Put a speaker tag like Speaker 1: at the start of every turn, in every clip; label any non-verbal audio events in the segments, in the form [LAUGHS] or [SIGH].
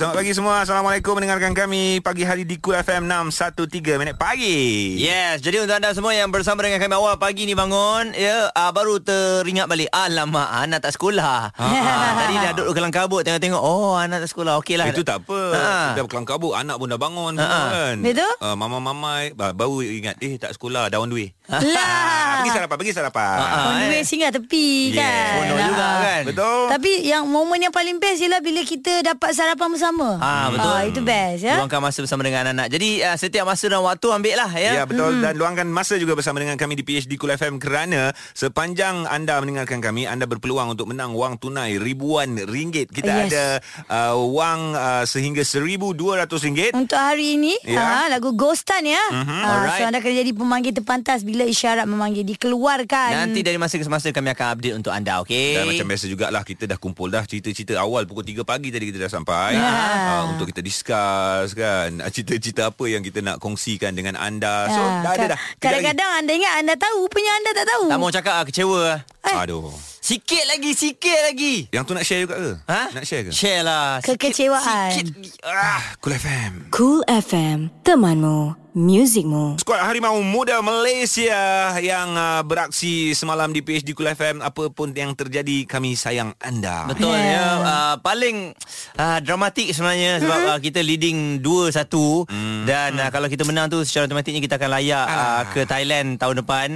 Speaker 1: Selamat pagi semua. Assalamualaikum mendengarkan kami pagi hari di Cool FM 613 minit pagi.
Speaker 2: Yes, jadi untuk anda semua yang bersama dengan kami awal pagi ni bangun, ya, uh, baru teringat balik, alamak, ah, anak tak sekolah. Ha, ha, [LAUGHS] tadi dah duduk kelang kabut tengok-tengok, oh, anak tak sekolah. Okeylah.
Speaker 1: Itu tak apa.
Speaker 2: Ha.
Speaker 1: lah. Ha. Dah kelang kabut, anak pun dah bangun ha. kan.
Speaker 3: Betul?
Speaker 1: Uh, mama-mama ba- baru ingat, eh tak sekolah, dah on the way. [LAUGHS] Ah,
Speaker 3: Lah.
Speaker 1: Pergi sarapan, pergi sarapan.
Speaker 2: Ha.
Speaker 3: On the way
Speaker 1: eh.
Speaker 3: Oh, singgah tepi
Speaker 1: Yeah,
Speaker 3: kan.
Speaker 2: Bodoh
Speaker 3: Ah.
Speaker 2: juga kan.
Speaker 1: Betul?
Speaker 3: Tapi yang momen yang paling best ialah bila kita dapat sarapan bersama.
Speaker 2: Ah, betul.
Speaker 3: Ah, itu best ya.
Speaker 2: Luangkan masa bersama dengan anak-anak. Jadi, uh, setiap masa dan waktu ambil lah, ya.
Speaker 1: Ya betul dan luangkan masa juga bersama dengan kami di PHD Cool FM kerana sepanjang anda mendengarkan kami anda berpeluang untuk menang wang tunai ribuan ringgit. Kita
Speaker 3: Yes.
Speaker 1: yes. ada uh, wang uh, sehingga RM1200.
Speaker 3: Untuk hari ini
Speaker 1: Ya.
Speaker 3: yeah. ha, Lagu Ghostan ya
Speaker 1: Mhm,
Speaker 3: Ah,
Speaker 2: alright.
Speaker 3: So anda kena jadi pemanggil terpantas Bila isyarat memanggil Dikeluarkan
Speaker 2: Nanti dari masa ke masa kami akan update untuk anda, okey?
Speaker 1: Dan macam biasa jugalah kita dah kumpul dah cerita-cerita awal pukul 3 pagi tadi kita dah sampai
Speaker 3: Ya.
Speaker 1: Ah, untuk kita discuss kan Ah, cerita-cerita apa yang kita nak kongsikan dengan anda. So
Speaker 3: Ah,
Speaker 1: dah ada
Speaker 3: ka-
Speaker 1: dah. Kejap lagi.
Speaker 3: Kadang-kadang anda ingat anda tahu Rupanya anda tak tahu
Speaker 2: Tak mau cakap ah, kecewa. ah.
Speaker 3: Eh.
Speaker 1: aduh.
Speaker 2: Sikit lagi, sikit lagi.
Speaker 1: Yang tu nak share juga ke?
Speaker 2: Ha?
Speaker 1: Nak share ke?
Speaker 2: Share lah. Sikit-
Speaker 3: Kekecewaan.
Speaker 2: Sikit. lagi. Ah.
Speaker 1: Cool FM.
Speaker 4: Cool FM, temanmu, muzikmu.
Speaker 1: Skuad Harimau Muda Malaysia yang uh, beraksi semalam di PHD Kul FM apa pun yang terjadi kami sayang anda.
Speaker 2: Betul ya.
Speaker 3: Yeah.
Speaker 2: Uh, paling uh, dramatik sebenarnya sebab
Speaker 3: Mm-hmm.
Speaker 2: uh, kita leading 2-1
Speaker 1: Mm.
Speaker 2: dan uh, kalau kita menang tu secara automatiknya kita akan layak uh, ke Thailand tahun depan.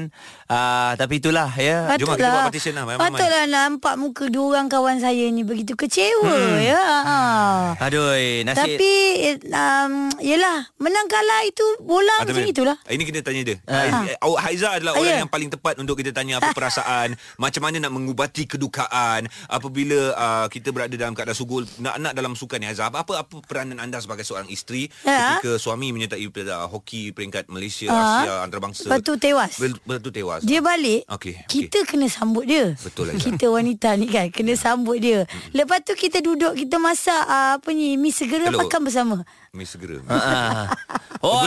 Speaker 2: Uh, tapi itulah ya.
Speaker 1: Jom lah, kita buat partition lah, ramai-ramai.
Speaker 3: Patutlah nampak muka dua orang kawan saya ni Begitu kecewa ya Ah.
Speaker 2: Aduh, nasib.
Speaker 3: Tapi eh, um, Yelah Menang kalah itu Bola
Speaker 1: Ah,
Speaker 3: macam
Speaker 1: Tamim,
Speaker 3: itulah
Speaker 1: Ini kita tanya dia. Ha. Awak Haiza adalah
Speaker 3: Ah,
Speaker 1: orang
Speaker 3: ya. Ah.
Speaker 1: yang paling tepat untuk kita tanya apa perasaan, macam mana nak mengubati kedukaan apabila uh, kita berada dalam keadaan sugul nak-nak dalam sukan ni Haiza. Apa, apa apa peranan anda sebagai seorang isteri
Speaker 3: Ya.
Speaker 1: ketika suami menyertai uh, hoki peringkat Malaysia,
Speaker 3: Ah.
Speaker 1: Asia antarabangsa.
Speaker 3: Lepas tu tewas.
Speaker 1: Bel- Lepas tu tewas.
Speaker 3: Dia balik
Speaker 1: Okey, okey.
Speaker 3: Kita kena sambut dia
Speaker 1: Betul,
Speaker 2: lah,
Speaker 1: Aizah.
Speaker 3: Kita wanita ni kan
Speaker 2: Ya.
Speaker 3: Kena sambut dia Lepas tu kita duduk Kita masak ah, Apa ni Mi segera
Speaker 1: Telur.
Speaker 3: makan bersama
Speaker 1: Mesti segera.
Speaker 2: Ah.
Speaker 1: Oh,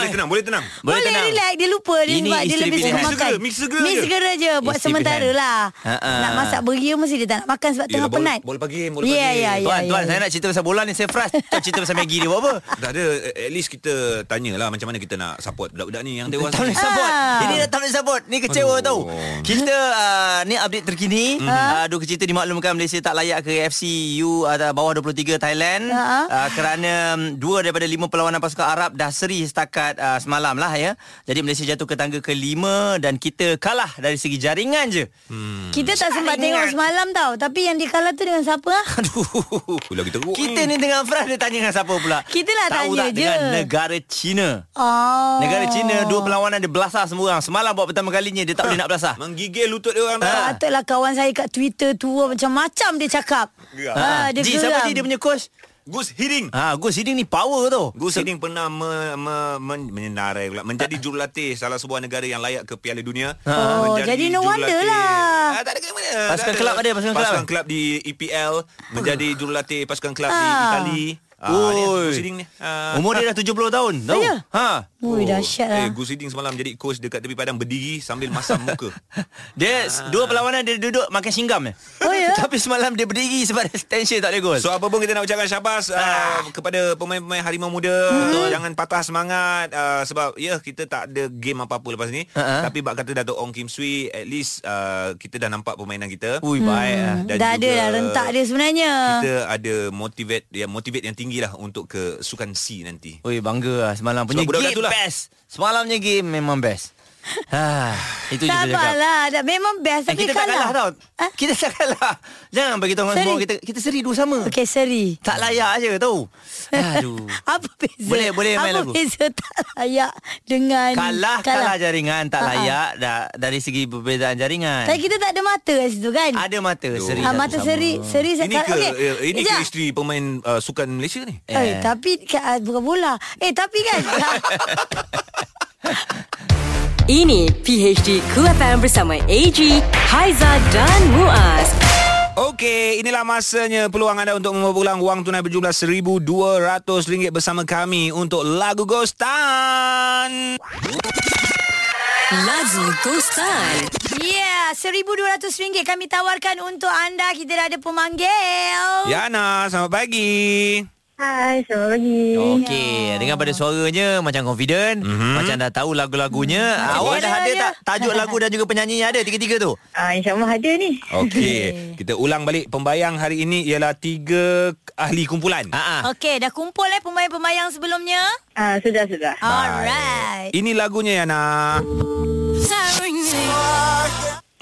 Speaker 2: Oi.
Speaker 1: [LAUGHS] boleh tenang, boleh tenang.
Speaker 2: Boleh tenang.
Speaker 3: relax Dia lupa dia
Speaker 2: Ini
Speaker 3: sebab dia
Speaker 2: isteri
Speaker 3: lebih suka
Speaker 2: pilihan.
Speaker 3: makan
Speaker 1: Mi segera, mi segera
Speaker 3: Mi
Speaker 1: je.
Speaker 3: segera je Buat
Speaker 2: Isteri
Speaker 3: sementara
Speaker 2: pilihan. Ya,
Speaker 3: lah
Speaker 2: Ha, ha.
Speaker 3: Nak masak beria Mesti dia tak nak makan Sebab
Speaker 1: Yelah,
Speaker 3: tengah
Speaker 1: bola-
Speaker 3: penat
Speaker 1: bola pagi, bola
Speaker 3: Ya
Speaker 1: pagi.
Speaker 3: ya ya
Speaker 2: Tuan,
Speaker 3: ya.
Speaker 2: tuan, saya nak cerita pasal bola ni Saya frust Tuan [LAUGHS] cerita pasal Maggie dia buat apa
Speaker 1: Tak ada eh, At least kita Tanya lah Macam mana kita nak support Budak-budak ni Yang tewas
Speaker 2: Tak
Speaker 1: ni
Speaker 2: boleh support
Speaker 3: Ah.
Speaker 2: Ini dah tak boleh support Ni kecewa
Speaker 1: Aduh.
Speaker 2: tau Kita uh, Ni update terkini
Speaker 3: Hmm.
Speaker 2: uh, Dua cerita dimaklumkan Malaysia tak layak ke AFC U atau Bawah 23 Thailand
Speaker 3: Ha.
Speaker 2: uh, Kerana um, Dua daripada lima perlawanan pasukan Arab Dah seri setakat uh, semalam lah ya Jadi Malaysia jatuh ke tangga kelima Dan kita kalah dari segi jaringan je
Speaker 1: Hmm.
Speaker 3: Kita tak sempat tengok semalam tau Tapi yang dia kalah tu dengan siapa ah?
Speaker 1: Aduh Pula kita Uhuh, teruk
Speaker 2: Kita ni dengan Fras Dia tanya dengan siapa pula
Speaker 3: Kita lah
Speaker 2: Tahu
Speaker 3: tanya
Speaker 2: tak
Speaker 3: je.
Speaker 2: dengan negara China
Speaker 3: Oh.
Speaker 2: Negara China Dua perlawanan dia belasah semua orang Semalam buat pertama kalinya Dia tak boleh nak belasah
Speaker 1: Menggigil lutut dia orang
Speaker 2: Ah.
Speaker 1: tak
Speaker 3: Patutlah kawan saya kat Twitter tu macam-macam dia cakap.
Speaker 1: Geram.
Speaker 3: Ha, dia
Speaker 2: Ah, Ji,
Speaker 3: geram.
Speaker 2: siapa dia, dia punya coach?
Speaker 1: Gus Hiding
Speaker 2: Ah, Gus Hiding ni power tu.
Speaker 1: Gus Hiding pernah me, me, men, menarai pula Menjadi jurulatih Salah sebuah negara yang layak ke Piala Dunia
Speaker 2: Ha.
Speaker 3: Oh,
Speaker 1: Ah,
Speaker 3: jadi no wonder
Speaker 1: jurulatih-
Speaker 3: lah.
Speaker 1: ah, Tak ada kena mana
Speaker 2: Pasukan
Speaker 1: Tak
Speaker 2: kelab ada, pasukan kelab.
Speaker 1: Pasukan kelab di EPL Menjadi jurulatih pasukan kelab di
Speaker 3: Ah.
Speaker 1: Itali Ah, ni,
Speaker 2: Oi.
Speaker 1: Gus Hiding ni Ah.
Speaker 2: Umur dia dah
Speaker 1: [LAUGHS]
Speaker 2: 70 tahun. Tahu?
Speaker 3: Ya.
Speaker 2: Ha.
Speaker 3: Ui, dahsyat lah.
Speaker 1: Eh, Gus Hiding semalam jadi coach dekat tepi padang berdiri sambil masam
Speaker 2: [LAUGHS]
Speaker 1: muka.
Speaker 2: Dia
Speaker 1: Ah.
Speaker 2: dua perlawanan dia duduk makan singgam je.
Speaker 3: Oh, ya?
Speaker 2: [LAUGHS] Tapi semalam dia berdiri sebab dia tension tak boleh gol.
Speaker 1: So apa pun kita nak ucapkan Oh, syabas
Speaker 2: Ah.
Speaker 1: uh, kepada pemain-pemain Harimau Muda.
Speaker 2: Mm-hmm.
Speaker 1: Hmm. Jangan patah semangat uh, sebab ya kita tak ada game apa-apa lepas ni.
Speaker 2: Ha-ha.
Speaker 1: Tapi bak kata Dato' Ong Kim Sui at least uh, kita dah nampak permainan kita. Ah,
Speaker 2: Ui, baik lah.
Speaker 1: Dan
Speaker 3: Hmm. dah ada
Speaker 1: juga
Speaker 3: dah rentak dia sebenarnya.
Speaker 1: Kita ada motivate yang motivate yang tinggi lah untuk ke Sukan C nanti.
Speaker 2: Oi, bangga lah semalam punya
Speaker 1: Sebab budak-budak
Speaker 2: game
Speaker 1: tu lah.
Speaker 2: best. Semalamnya game memang best. Ha, itu je saya cakap.
Speaker 3: Sabarlah. Dah, memang best.
Speaker 2: Eh,
Speaker 3: Tapi
Speaker 2: kita tak
Speaker 3: kalah.
Speaker 2: kalah tau.
Speaker 3: Ha?
Speaker 2: Kita tak kalah. Jangan bagi tahu orang
Speaker 3: Seri.
Speaker 2: semua kita kita seri dua sama.
Speaker 3: Okey, seri.
Speaker 2: Tak layak je tahu. Aduh.
Speaker 3: [LAUGHS] Apa beza?
Speaker 2: Boleh- boleh main
Speaker 3: Apa
Speaker 2: lagu.
Speaker 3: beza tak layak dengan
Speaker 2: Kalah, kalah jaringan tak
Speaker 3: Ha, ha.
Speaker 2: layak dah, dari segi perbezaan jaringan.
Speaker 3: Tapi kita tak ada mata kat situ kan?
Speaker 2: Ada mata seri.
Speaker 3: ha,
Speaker 2: satu
Speaker 3: mata
Speaker 2: sama.
Speaker 3: seri seri
Speaker 1: Ini ke
Speaker 3: okey.
Speaker 1: eh, ini ke
Speaker 3: Sekejap.
Speaker 1: isteri pemain uh, Sukan Malaysia ni?
Speaker 3: Eh, eh tapi ah, bukan bola. Eh tapi kan
Speaker 4: Ini PHD Cool FM bersama AG, Haiza dan Muaz.
Speaker 1: Okey, inilah masanya peluang anda untuk membawa pulang wang tunai berjumlah RM1,200 bersama kami untuk lagu Ghost Town.
Speaker 4: Lagu Ghostan.
Speaker 3: Ya, yeah, RM1,200 kami tawarkan untuk anda. Kita dah ada pemanggil.
Speaker 2: Ya.
Speaker 1: Yana, selamat pagi.
Speaker 5: Hai, selamat pagi.
Speaker 2: Oh.
Speaker 5: Ya.
Speaker 2: Okey, dengan pada suaranya macam confident, mm-hmm. macam dah tahu lagu-lagunya.
Speaker 5: Mhm.
Speaker 2: Mm-hmm. Awak dah ada
Speaker 3: ya.
Speaker 2: tak tajuk lagu dan juga penyanyinya ada tiga-tiga tu?
Speaker 5: Ah, InsyaAllah ada ni.
Speaker 1: Okey, kita ulang balik pembayang hari ini ialah tiga ahli kumpulan.
Speaker 2: Ha ah.
Speaker 3: Okey, dah kumpul eh pembayang-pembayang sebelumnya?
Speaker 5: Ah, sudah, sudah.
Speaker 3: Alright.
Speaker 1: Ini lagunya Yana.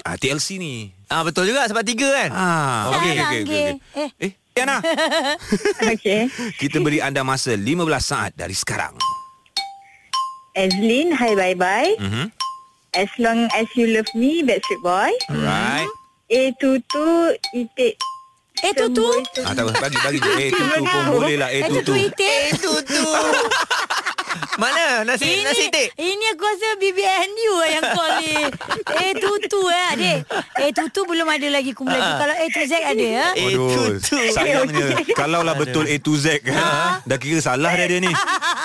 Speaker 1: Ah, TLC ni.
Speaker 2: Ah betul juga sebab tiga kan?
Speaker 1: Ah, okey okey okey. Okay. Eh, Yana,
Speaker 5: Okey.
Speaker 1: kita beri anda masa 15 saat dari sekarang.
Speaker 5: Azlin, hi bye-bye.
Speaker 1: Mhm.
Speaker 5: As long as you love me, Backstreet Boy.
Speaker 1: Alright.
Speaker 5: A22, Eh, itik.
Speaker 3: Eh, Tutu.
Speaker 1: Ah, tak apa, bagi bagi je. Eh, tutu pun boleh lah. Eh,
Speaker 3: Eh, Tutu
Speaker 1: tutu.
Speaker 3: itik.
Speaker 2: Itu
Speaker 3: [LAUGHS]
Speaker 2: tu. Mana nasi
Speaker 3: Ini,
Speaker 2: nasi tik?
Speaker 3: ini aku rasa BBNU lah yang call ni. Eh, Tutu eh, adik. Eh, Tutu belum ada lagi kumpulan tu. Kalau eh, Tuzek ada ya.
Speaker 2: Eh,
Speaker 1: Aduh,
Speaker 2: tutu. [LAUGHS]
Speaker 1: sayangnya Kalaulah betul A to Z
Speaker 2: Ha?
Speaker 1: kan, Dah kira salah dah
Speaker 3: [LAUGHS]
Speaker 1: dia ni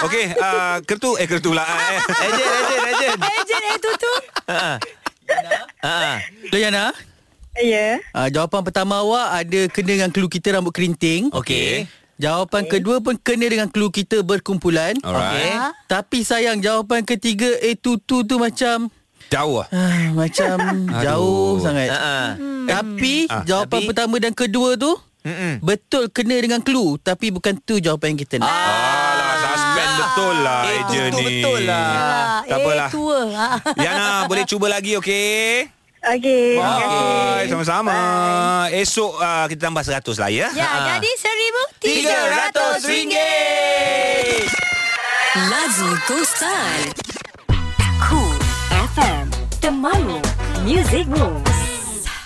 Speaker 1: Okey, uh, kertu Eh, kertu lah eh.
Speaker 2: Legend, legend, legend.
Speaker 3: Eh, Jen, eh, Tutu.
Speaker 2: Ha. Ha. Tu Yana.
Speaker 5: [LAUGHS] Ya.
Speaker 6: Uh, jawapan pertama awak ada kena dengan clue kita rambut kerinting.
Speaker 2: Okey.
Speaker 6: Jawapan okay. kedua pun kena dengan clue kita berkumpulan.
Speaker 2: Okey.
Speaker 1: Alright.
Speaker 6: Tapi sayang jawapan ketiga A22 tu macam
Speaker 1: Jauh lah
Speaker 6: ah,
Speaker 2: [LAUGHS]
Speaker 6: macam jauh sangat.
Speaker 2: Ha ah.
Speaker 6: Tapi jawapan
Speaker 2: tapi-
Speaker 6: pertama dan kedua tu
Speaker 2: Mm-mm.
Speaker 6: betul kena dengan clue tapi bukan tu jawapan yang kita nak.
Speaker 2: Ah.
Speaker 1: Alah, suspend betul lah
Speaker 2: Eh,
Speaker 1: A je
Speaker 2: tutu
Speaker 1: ni
Speaker 2: betul lah.
Speaker 1: Tak
Speaker 3: eh,
Speaker 1: apalah
Speaker 3: tua. Ha.
Speaker 1: Yana, boleh cuba lagi okey?
Speaker 5: Okey. terima kasih.
Speaker 1: Bye. Sama-sama. Esok uh, kita tambah 100 lah ya.
Speaker 3: Ya, jadi RM1,300.
Speaker 2: RM300.
Speaker 4: Lagu Ghostan. Cool FM. Temanmu. Music Rules.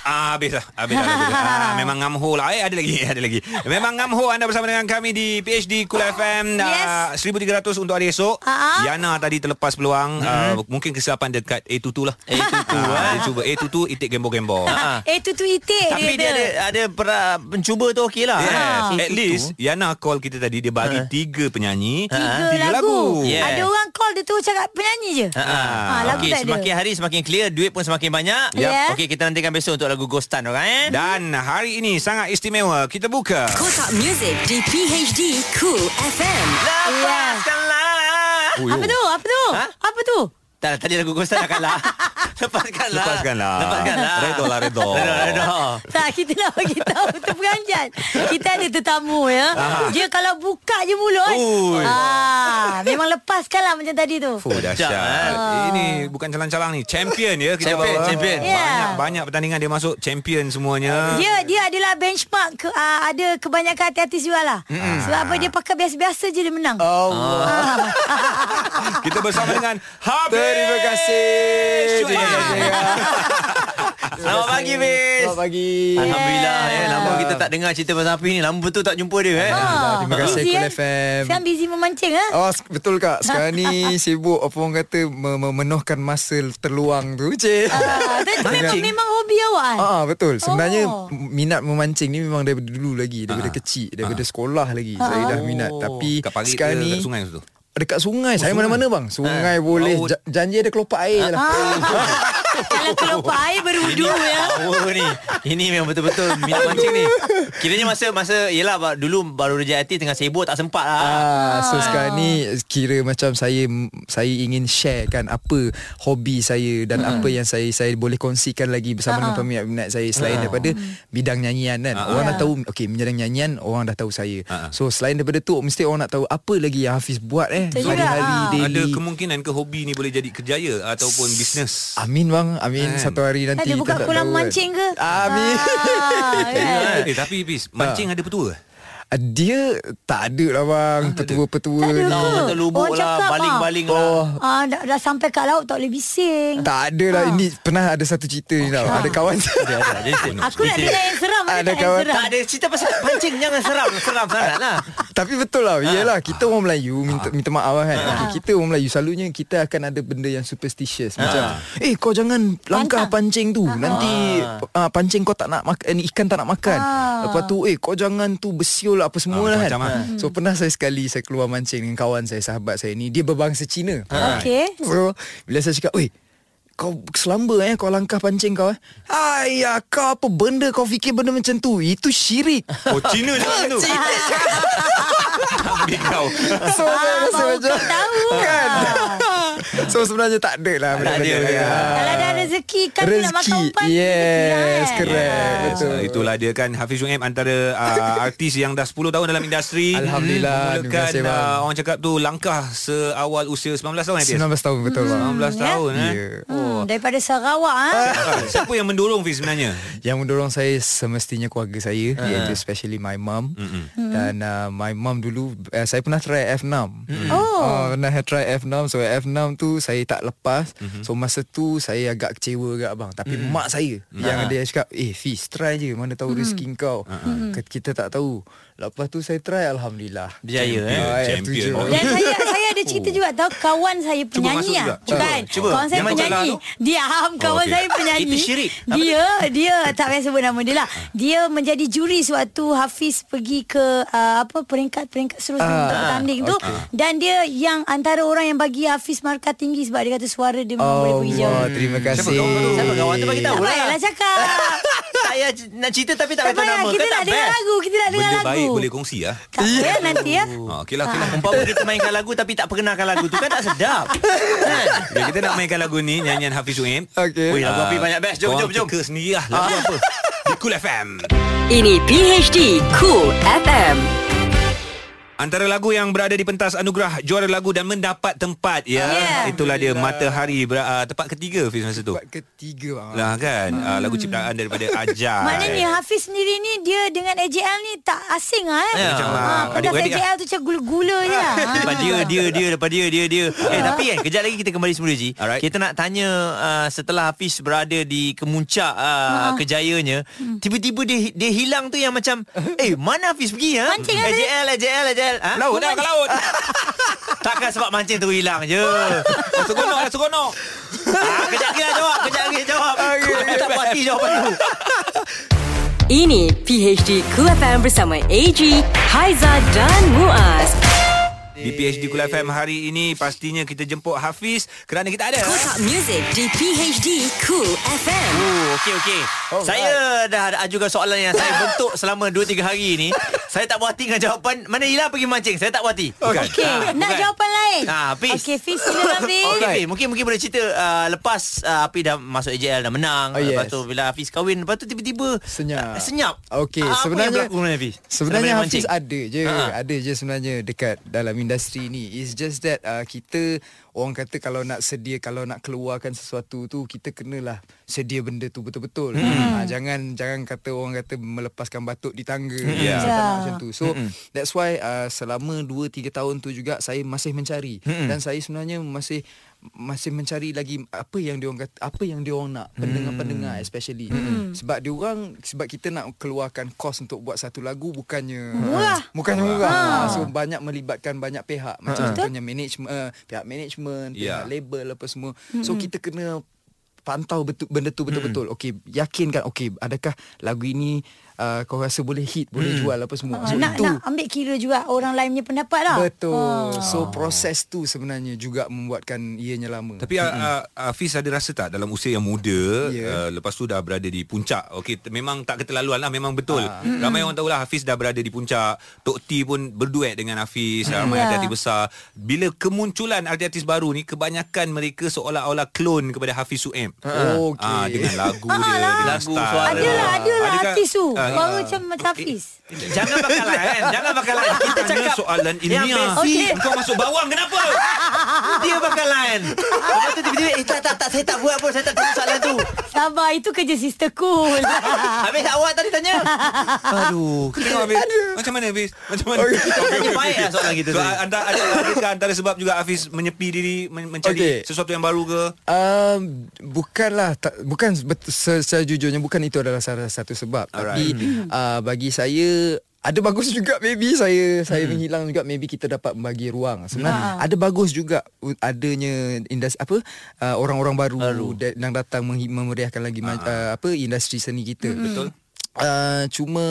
Speaker 1: Ah, habis lah. Habis lah. Habis lah.
Speaker 3: [LAUGHS]
Speaker 1: Ah, memang ngamho lah. Eh, ada lagi. [LAUGHS] Ada lagi. Memang ngamho anda bersama dengan kami di PhD Cool FM. Ah, 1,300 untuk hari esok.
Speaker 3: Ah, ah.
Speaker 1: Yana tadi terlepas peluang. Ah,
Speaker 2: Mm-hmm.
Speaker 1: mungkin kesilapan dekat A22
Speaker 2: [LAUGHS]
Speaker 1: lah. A22. Ah, dia cuba A22, itik
Speaker 2: Ah,
Speaker 1: gembor-gembor.
Speaker 3: Eh, Tutu itik.
Speaker 2: Tapi dia ada ada pra, pencuba tu okey lah.
Speaker 1: Yes.
Speaker 2: Ah.
Speaker 1: At least Yana call kita tadi Dia bagi tiga penyanyi
Speaker 3: Tiga lagu.
Speaker 2: Yes.
Speaker 3: Ada orang call dia tu cakap penyanyi je.
Speaker 2: Ah,
Speaker 3: lagu
Speaker 2: okay,
Speaker 3: tak ada.
Speaker 2: semakin hari semakin clear Duit pun semakin banyak
Speaker 3: Yep. Yeah.
Speaker 2: Okay, kita nantikan besok Untuk lagu Ghostan orang eh
Speaker 1: Dan hari ini sangat istimewa Kita buka
Speaker 4: Kotak Music di PHD Cool FM.
Speaker 2: Lepaskanlah
Speaker 1: Oh, yo.
Speaker 3: Apa tu? Apa tu?
Speaker 2: Ha?
Speaker 3: Apa tu?
Speaker 2: Tak lah, tadi lagu Ghostan dah kalah Lepaskanlah
Speaker 1: Lepaskanlah.
Speaker 2: Lepaskanlah
Speaker 1: Redo lah, redo.
Speaker 2: Redo, redo
Speaker 3: Tak, kita nak bagi tahu tu peranjat. Kita ada tetamu ya. Dia kalau buka je mulut. eh.
Speaker 1: Ui.
Speaker 3: Ah, memang lepaskan lah macam tadi tu.
Speaker 1: Fuh, dahsyat.
Speaker 2: eh.
Speaker 1: Ini bukan calang-calang ni. Champion ya kita
Speaker 2: Champion,
Speaker 1: bawa.
Speaker 2: champion.
Speaker 3: Ya.
Speaker 1: Banyak-banyak pertandingan dia masuk champion semuanya.
Speaker 3: Ah. Dia dia adalah benchmark ke, uh, ada kebanyakan hati-hati jugalah. Mm. Sebab apa dia pakai biasa-biasa je dia menang. Oh.
Speaker 1: Kita bersama dengan Habib.
Speaker 7: Terima kasih. Terima kasih.
Speaker 2: Selamat pagi Fiz
Speaker 7: Selamat pagi.
Speaker 2: Alhamdulillah ya, Lama kita tak dengar cerita pasal Hafiz ni Lama betul tak jumpa dia eh
Speaker 7: Terima kasih
Speaker 3: Busy,
Speaker 7: Cool
Speaker 3: eh?
Speaker 7: FM.
Speaker 3: Sekarang busy memancing ah.
Speaker 7: Oh s- betul kak Sekarang ni sibuk Apa orang kata me- Memenuhkan masa terluang tu Cik [LAUGHS]
Speaker 3: Ah, tapi tu memang memang hobi awak kan?
Speaker 7: Ah betul. Sebenarnya
Speaker 3: Oh.
Speaker 7: oh. minat memancing ni memang daripada dulu lagi, daripada kecil, daripada sekolah lagi. Saya
Speaker 3: Ah.
Speaker 7: dah minat tapi
Speaker 1: Ah. Kat pagi
Speaker 7: sekarang ni
Speaker 1: dekat sungai tu. Oh, Ah.
Speaker 7: dekat sungai. saya mana-mana bang. Sungai boleh
Speaker 1: Laut. Ah.
Speaker 7: ja- janji ada kelopak air je lah.
Speaker 3: Ah. [LAUGHS] Kalau kelopak air berwudu ya.
Speaker 2: Power ni Ini memang betul-betul Minat mancing ni Kiranya masa Masa Yelah ba- dulu Baru rejak hati Tengah sibuk Tak sempat lah
Speaker 7: Ah, so sekarang ni kira macam saya saya ingin sharekan apa hobi saya dan apa yang saya saya boleh kongsikan lagi bersama dengan peminat-peminat saya selain daripada bidang nyanyian kan. Orang dah tahu okey bidang nyanyian orang dah tahu saya. So selain daripada tu mesti orang nak tahu apa lagi yang Hafiz buat eh
Speaker 3: Betul juga,
Speaker 7: hari-hari
Speaker 3: ah.
Speaker 7: daily.
Speaker 1: Ada kemungkinan ke hobi ni boleh jadi kerjaya ataupun bisnes?
Speaker 7: Amin bang, amin
Speaker 1: Kan?
Speaker 7: satu hari nanti
Speaker 3: Ada
Speaker 7: kita
Speaker 3: Eh, buka
Speaker 7: tak
Speaker 3: kolam
Speaker 7: [LAUGHS] tahu
Speaker 3: Ah,
Speaker 7: kan.
Speaker 3: mancing ke?
Speaker 7: Amin.
Speaker 3: Ah, kan?
Speaker 1: Eh tapi bis eh, mancing ada petua. ke?
Speaker 7: uh, dia tak ada lah bang petua-petua
Speaker 3: Tak ada
Speaker 7: ni.
Speaker 3: ke?
Speaker 2: Betul lubuk
Speaker 3: Orang
Speaker 2: lah
Speaker 3: cakap,
Speaker 2: Baling-baling lah
Speaker 7: Oh,
Speaker 3: Ah, dah, dah sampai kat laut tak boleh bising.
Speaker 7: tak ada lah
Speaker 3: Ah.
Speaker 7: Ini pernah ada satu cerita ni tau Ada kawan
Speaker 2: Dia ada, dia ada.
Speaker 3: Aku nak dengar yang seram Ada
Speaker 7: Ada
Speaker 3: tak yang
Speaker 7: kawan-
Speaker 3: seram
Speaker 2: Tak ada cerita pasal pancing Jangan seram Seram sangat lah
Speaker 7: [LAUGHS] Tapi betul lah Yelah kita orang Melayu Minta, minta maaf lah kan okay, Kita orang Melayu Selalunya kita akan ada benda yang superstitious Macam Eh kau jangan langkah pancing tu Nanti ah, Pancing kau tak nak makan eh, Ikan tak nak makan Lepas tu Eh kau jangan tu bersiul Apa semua
Speaker 1: Ah,
Speaker 7: lah kan
Speaker 1: macam-macam lah.
Speaker 7: So pernah saya sekali Saya keluar mancing Dengan kawan saya Sahabat saya ni Dia berbangsa Cina
Speaker 3: Okey.
Speaker 7: So bila saya cakap Weh kau selamba eh Kau langkah pancing kau eh Ayah kau apa benda Kau fikir benda macam tu Itu syirik
Speaker 1: Oh Cina cakap
Speaker 7: [LAUGHS]
Speaker 1: tu Ambil kau
Speaker 7: So saya rasa
Speaker 3: baru
Speaker 7: macam
Speaker 3: kau Ah, tahu. Ah.
Speaker 7: Kan So sebenarnya tak ada lah benda
Speaker 2: ada,
Speaker 7: macam ni.
Speaker 2: ya.
Speaker 7: Ah.
Speaker 3: Kalau ada rezeki Kan rezeki. nak makan
Speaker 7: Rezeki ya.
Speaker 3: umpan
Speaker 7: Yes
Speaker 3: rezeki lah,
Speaker 7: Correct
Speaker 1: kan? Yes,
Speaker 7: Betul
Speaker 1: uh, Itulah dia kan Hafiz Sungaib antara
Speaker 7: [LAUGHS]
Speaker 1: uh, artis yang dah 10 tahun dalam industri
Speaker 7: Alhamdulillah, terima
Speaker 1: Memulakan
Speaker 7: kasih, bang.
Speaker 1: uh, orang cakap tu Langkah seawal usia 19 tahun Hafiz 19
Speaker 7: 19 tahun betul bang
Speaker 1: tahun eh
Speaker 7: Ya.
Speaker 3: hmm, Daripada Sarawak ah.
Speaker 7: [LAUGHS]
Speaker 1: Ah,
Speaker 2: Kan?
Speaker 1: Siapa yang mendorong Fiz sebenarnya?
Speaker 7: Yang mendorong saya semestinya keluarga saya
Speaker 2: Ha.
Speaker 7: uh. Iaitu especially my mum Dan uh, my mum dulu uh, Saya pernah try F6
Speaker 3: Oh.
Speaker 7: uh, Pernah try F6 So F6 tu saya tak lepas
Speaker 2: Mm-hmm.
Speaker 7: So masa tu saya agak kecewa agak bang Tapi mak saya Yang
Speaker 2: Ah.
Speaker 7: dia cakap Eh Fiz try je Mana tahu rezeki kau Ket- Kita tak tahu Lepas tu saya try Alhamdulillah
Speaker 2: Berjaya eh
Speaker 7: Ah, F7.
Speaker 1: champion. Oh,
Speaker 3: Dan saya
Speaker 7: [LAUGHS]
Speaker 3: saya ada cerita juga tahu kawan saya penyanyi
Speaker 1: masuk
Speaker 3: ah.
Speaker 1: juga. Cuba,
Speaker 3: Bukan.
Speaker 1: cuba.
Speaker 3: Kawan saya
Speaker 1: Yang kau
Speaker 3: penyanyi.
Speaker 1: kalah
Speaker 3: Diam kawan
Speaker 1: okey.
Speaker 3: saya penyanyi.
Speaker 2: Itu syirik. Apa
Speaker 3: Dia dia tak payah sebut nama dia lah. Dia menjadi juri sewaktu Hafiz pergi ke uh, apa peringkat-peringkat seterusnya
Speaker 7: Ah,
Speaker 3: untuk bertanding tu dan dia yang antara orang yang bagi Hafiz markah tinggi sebab dia kata suara dia memang boleh pergi jauh.
Speaker 7: Allah Terima kasih
Speaker 2: Siapa kawan tu
Speaker 7: Oh,
Speaker 2: bagi
Speaker 7: ya.
Speaker 2: tahu
Speaker 3: Tak
Speaker 2: lah
Speaker 3: payahlah cakap.
Speaker 2: Tak payah c- nak cerita Tapi tak
Speaker 3: tak
Speaker 2: payah tahu
Speaker 3: payah.
Speaker 2: nama
Speaker 3: Kita
Speaker 2: Kan
Speaker 3: nak
Speaker 2: tak
Speaker 3: dengar
Speaker 2: best
Speaker 3: lagu. Kita nak dengar
Speaker 1: Benda
Speaker 3: lagu.
Speaker 1: baik boleh kongsi ya.
Speaker 3: Tak ya nanti ya.
Speaker 1: Ah, okeylah okeylah.
Speaker 2: Umpama kita mainkan lagu Tapi tak perkenalkan lagu tu Kan tak sedap Kan
Speaker 1: Okay, kita nak mainkan lagu ni nyanyian Hafiz Suim.
Speaker 7: Okey.
Speaker 2: Weh, lagu Hafiz banyak best. Jom, jom, jom.
Speaker 1: Kita sendiri lah lagu apa. Di Ah. Cool FM.
Speaker 4: Ini PHD Cool FM.
Speaker 1: Antara lagu yang berada di pentas anugerah juara lagu dan mendapat
Speaker 4: Oh,
Speaker 1: tempat ya.
Speaker 3: Yeah.
Speaker 1: Itulah dia Matahari ber, uh, tempat ketiga Fiz masa tu.
Speaker 7: Tempat ketiga bang Hmm.
Speaker 1: Lah kan uh, lagu ciptaan daripada Ajar.
Speaker 3: Maknanya Hafiz sendiri ni Dia dengan AJL ni Tak asing lah eh
Speaker 2: Ya,
Speaker 1: macam,
Speaker 3: ha,
Speaker 1: ah,
Speaker 3: Pendas
Speaker 1: adik-beradik
Speaker 3: AJL tu Macam gula-gula je
Speaker 1: [LAUGHS]
Speaker 3: lah.
Speaker 2: [LAUGHS] Lepas
Speaker 3: Ha.
Speaker 2: dia, dia, dia Lepas dia, dia, dia Eh tapi kan Kejap lagi kita kembali semula Ji
Speaker 1: Alright.
Speaker 2: Kita nak tanya uh, Setelah Hafiz berada di Kemuncak uh, Kejayaannya Tiba-tiba dia dia hilang tu yang macam Eh mana Hafiz pergi ha?
Speaker 3: Mancing, Hafiz.
Speaker 2: AJL, AJL, AJL ha?
Speaker 1: laut dah ke laut.
Speaker 2: [LAUGHS] Takkan sebab mancing tu hilang je
Speaker 1: Seronok lah seronok.
Speaker 2: ah, Kejap lagi lah jawab Kejap lagi jawab Aku tak puas hati jawapan tu
Speaker 4: Ini PHD Cool FM bersama AG, Haiza dan Muaz.
Speaker 1: Di PhD Kul FM hari ini pastinya kita jemput Hafiz kerana kita ada
Speaker 4: Kotak Music di PHD Cool FM.
Speaker 2: Oh, okey okey. Oh, saya dah ada ajukan soalan yang saya bentuk selama 2 3 hari ni. saya tak puas hati dengan jawapan mana hilang pergi mancing. Saya tak puas hati. Ah,
Speaker 1: Bukan.
Speaker 3: Okey Nak
Speaker 2: bukan.
Speaker 3: jawapan lain
Speaker 2: Ah, Hafiz.
Speaker 3: Okey Fiz
Speaker 2: [LAUGHS]
Speaker 3: silakan Fiz
Speaker 2: Okey, Fee, mungkin mungkin boleh cerita uh, lepas uh, Api dah masuk AJL dah menang.
Speaker 7: Oh,
Speaker 2: Lepas
Speaker 7: yes.
Speaker 2: tu bila Hafiz kahwin, lepas tu tiba-tiba
Speaker 7: Senyap.
Speaker 2: Uh, senyap.
Speaker 7: Okey,
Speaker 2: Ah, apa yang
Speaker 7: sebenarnya-
Speaker 2: berlaku dengan Hafiz?
Speaker 7: Sebenarnya
Speaker 2: Selepas
Speaker 7: Hafiz
Speaker 2: mancing.
Speaker 7: ada je
Speaker 2: Ha.
Speaker 7: ha. Ada je sebenarnya Dekat dalam industri ni It's just that uh, Kita Orang kata kalau nak sedia Kalau nak keluarkan sesuatu tu Kita kenalah Sedia benda tu betul-betul hmm. ha, Jangan Jangan kata orang kata Melepaskan batuk di tangga
Speaker 2: Hmm.
Speaker 7: yeah.
Speaker 3: Ya.
Speaker 7: Macam tu So that's why uh, Selama 2-3 tahun tu juga Saya masih mencari
Speaker 2: Hmm.
Speaker 7: Dan saya sebenarnya Masih masih mencari lagi apa yang dia orang kata apa yang dia orang nak
Speaker 3: Hmm.
Speaker 7: pendengar-pendengar especially sebab dia orang sebab kita nak keluarkan kos untuk buat satu lagu bukannya
Speaker 3: Murah. Ah.
Speaker 7: bukannya murah ha. so banyak melibatkan banyak pihak macam contohnya management uh, pihak management pihak
Speaker 1: Ya.
Speaker 7: label apa semua
Speaker 3: Hmm.
Speaker 7: so kita kena pantau betul benda tu betul-betul okey yakinkan okey adakah lagu ini uh, kau rasa boleh hit boleh jual apa semua
Speaker 3: Ah,
Speaker 7: so
Speaker 3: Nak
Speaker 7: itu
Speaker 3: nak ambil kira juga Orang lain punya pendapat lah
Speaker 7: betul so proses tu sebenarnya juga membuatkan ianya lama
Speaker 1: Tapi uh, uh, Hafiz ada rasa tak dalam usia yang muda yeah. uh,
Speaker 7: Ya.
Speaker 1: lepas tu dah berada di puncak. Okey t- memang tak keterlaluan lah memang betul. Uh. Ramai orang tahulah Hafiz dah berada di puncak. Tok T pun berduet dengan Hafiz. Ramai
Speaker 3: Ya.
Speaker 1: yeah. artis besar. Bila kemunculan artis-artis baru ni kebanyakan mereka seolah-olah klon kepada Hafiz Suim.
Speaker 7: Oh, okey.
Speaker 1: Ah dengan lagu dia,
Speaker 3: Ah, lah.
Speaker 1: dengan
Speaker 2: Lagu,
Speaker 1: style.
Speaker 2: suara.
Speaker 3: Adalah Adalah
Speaker 1: Adakah-
Speaker 3: artis tu
Speaker 1: Ah,
Speaker 3: Baru macam macam Hafiz
Speaker 2: Jangan pakai lain, jangan pakai lain. Kita
Speaker 1: Tanya
Speaker 2: cakap
Speaker 1: soalan ilmiah [LAUGHS]
Speaker 2: Yang
Speaker 3: basic.
Speaker 1: Kau masuk bawang kenapa?
Speaker 2: dia bakalan Lepas tu tiba-tiba Eh tak tak tak Saya tak buat pun Saya tak tahu soalan tu
Speaker 3: Sabar itu kerja sister cool
Speaker 2: [LAUGHS] Habis awak tadi
Speaker 3: [LAUGHS]
Speaker 2: tanya Aduh
Speaker 1: Kita tengok Hafiz Macam mana Hafiz Macam mana
Speaker 2: Tadi baik lah soalan kita
Speaker 1: So
Speaker 2: tadi.
Speaker 1: anda, ada, adakah antara sebab juga Hafiz menyepi diri men- Mencari
Speaker 7: Okey.
Speaker 1: sesuatu yang baru ke
Speaker 7: Um, bukanlah tak, bukan bet- se- sejujurnya bukan itu adalah salah satu sebab
Speaker 1: Alright.
Speaker 7: Alright. tapi uh, bagi saya ada bagus juga maybe saya saya menghilang juga maybe kita dapat membagi ruang sebenarnya ada bagus juga u- adanya industri apa uh, orang-orang baru, da- yang datang menghi- memeriahkan lagi ma- uh, apa industri seni kita
Speaker 1: Betul.
Speaker 7: uh, cuma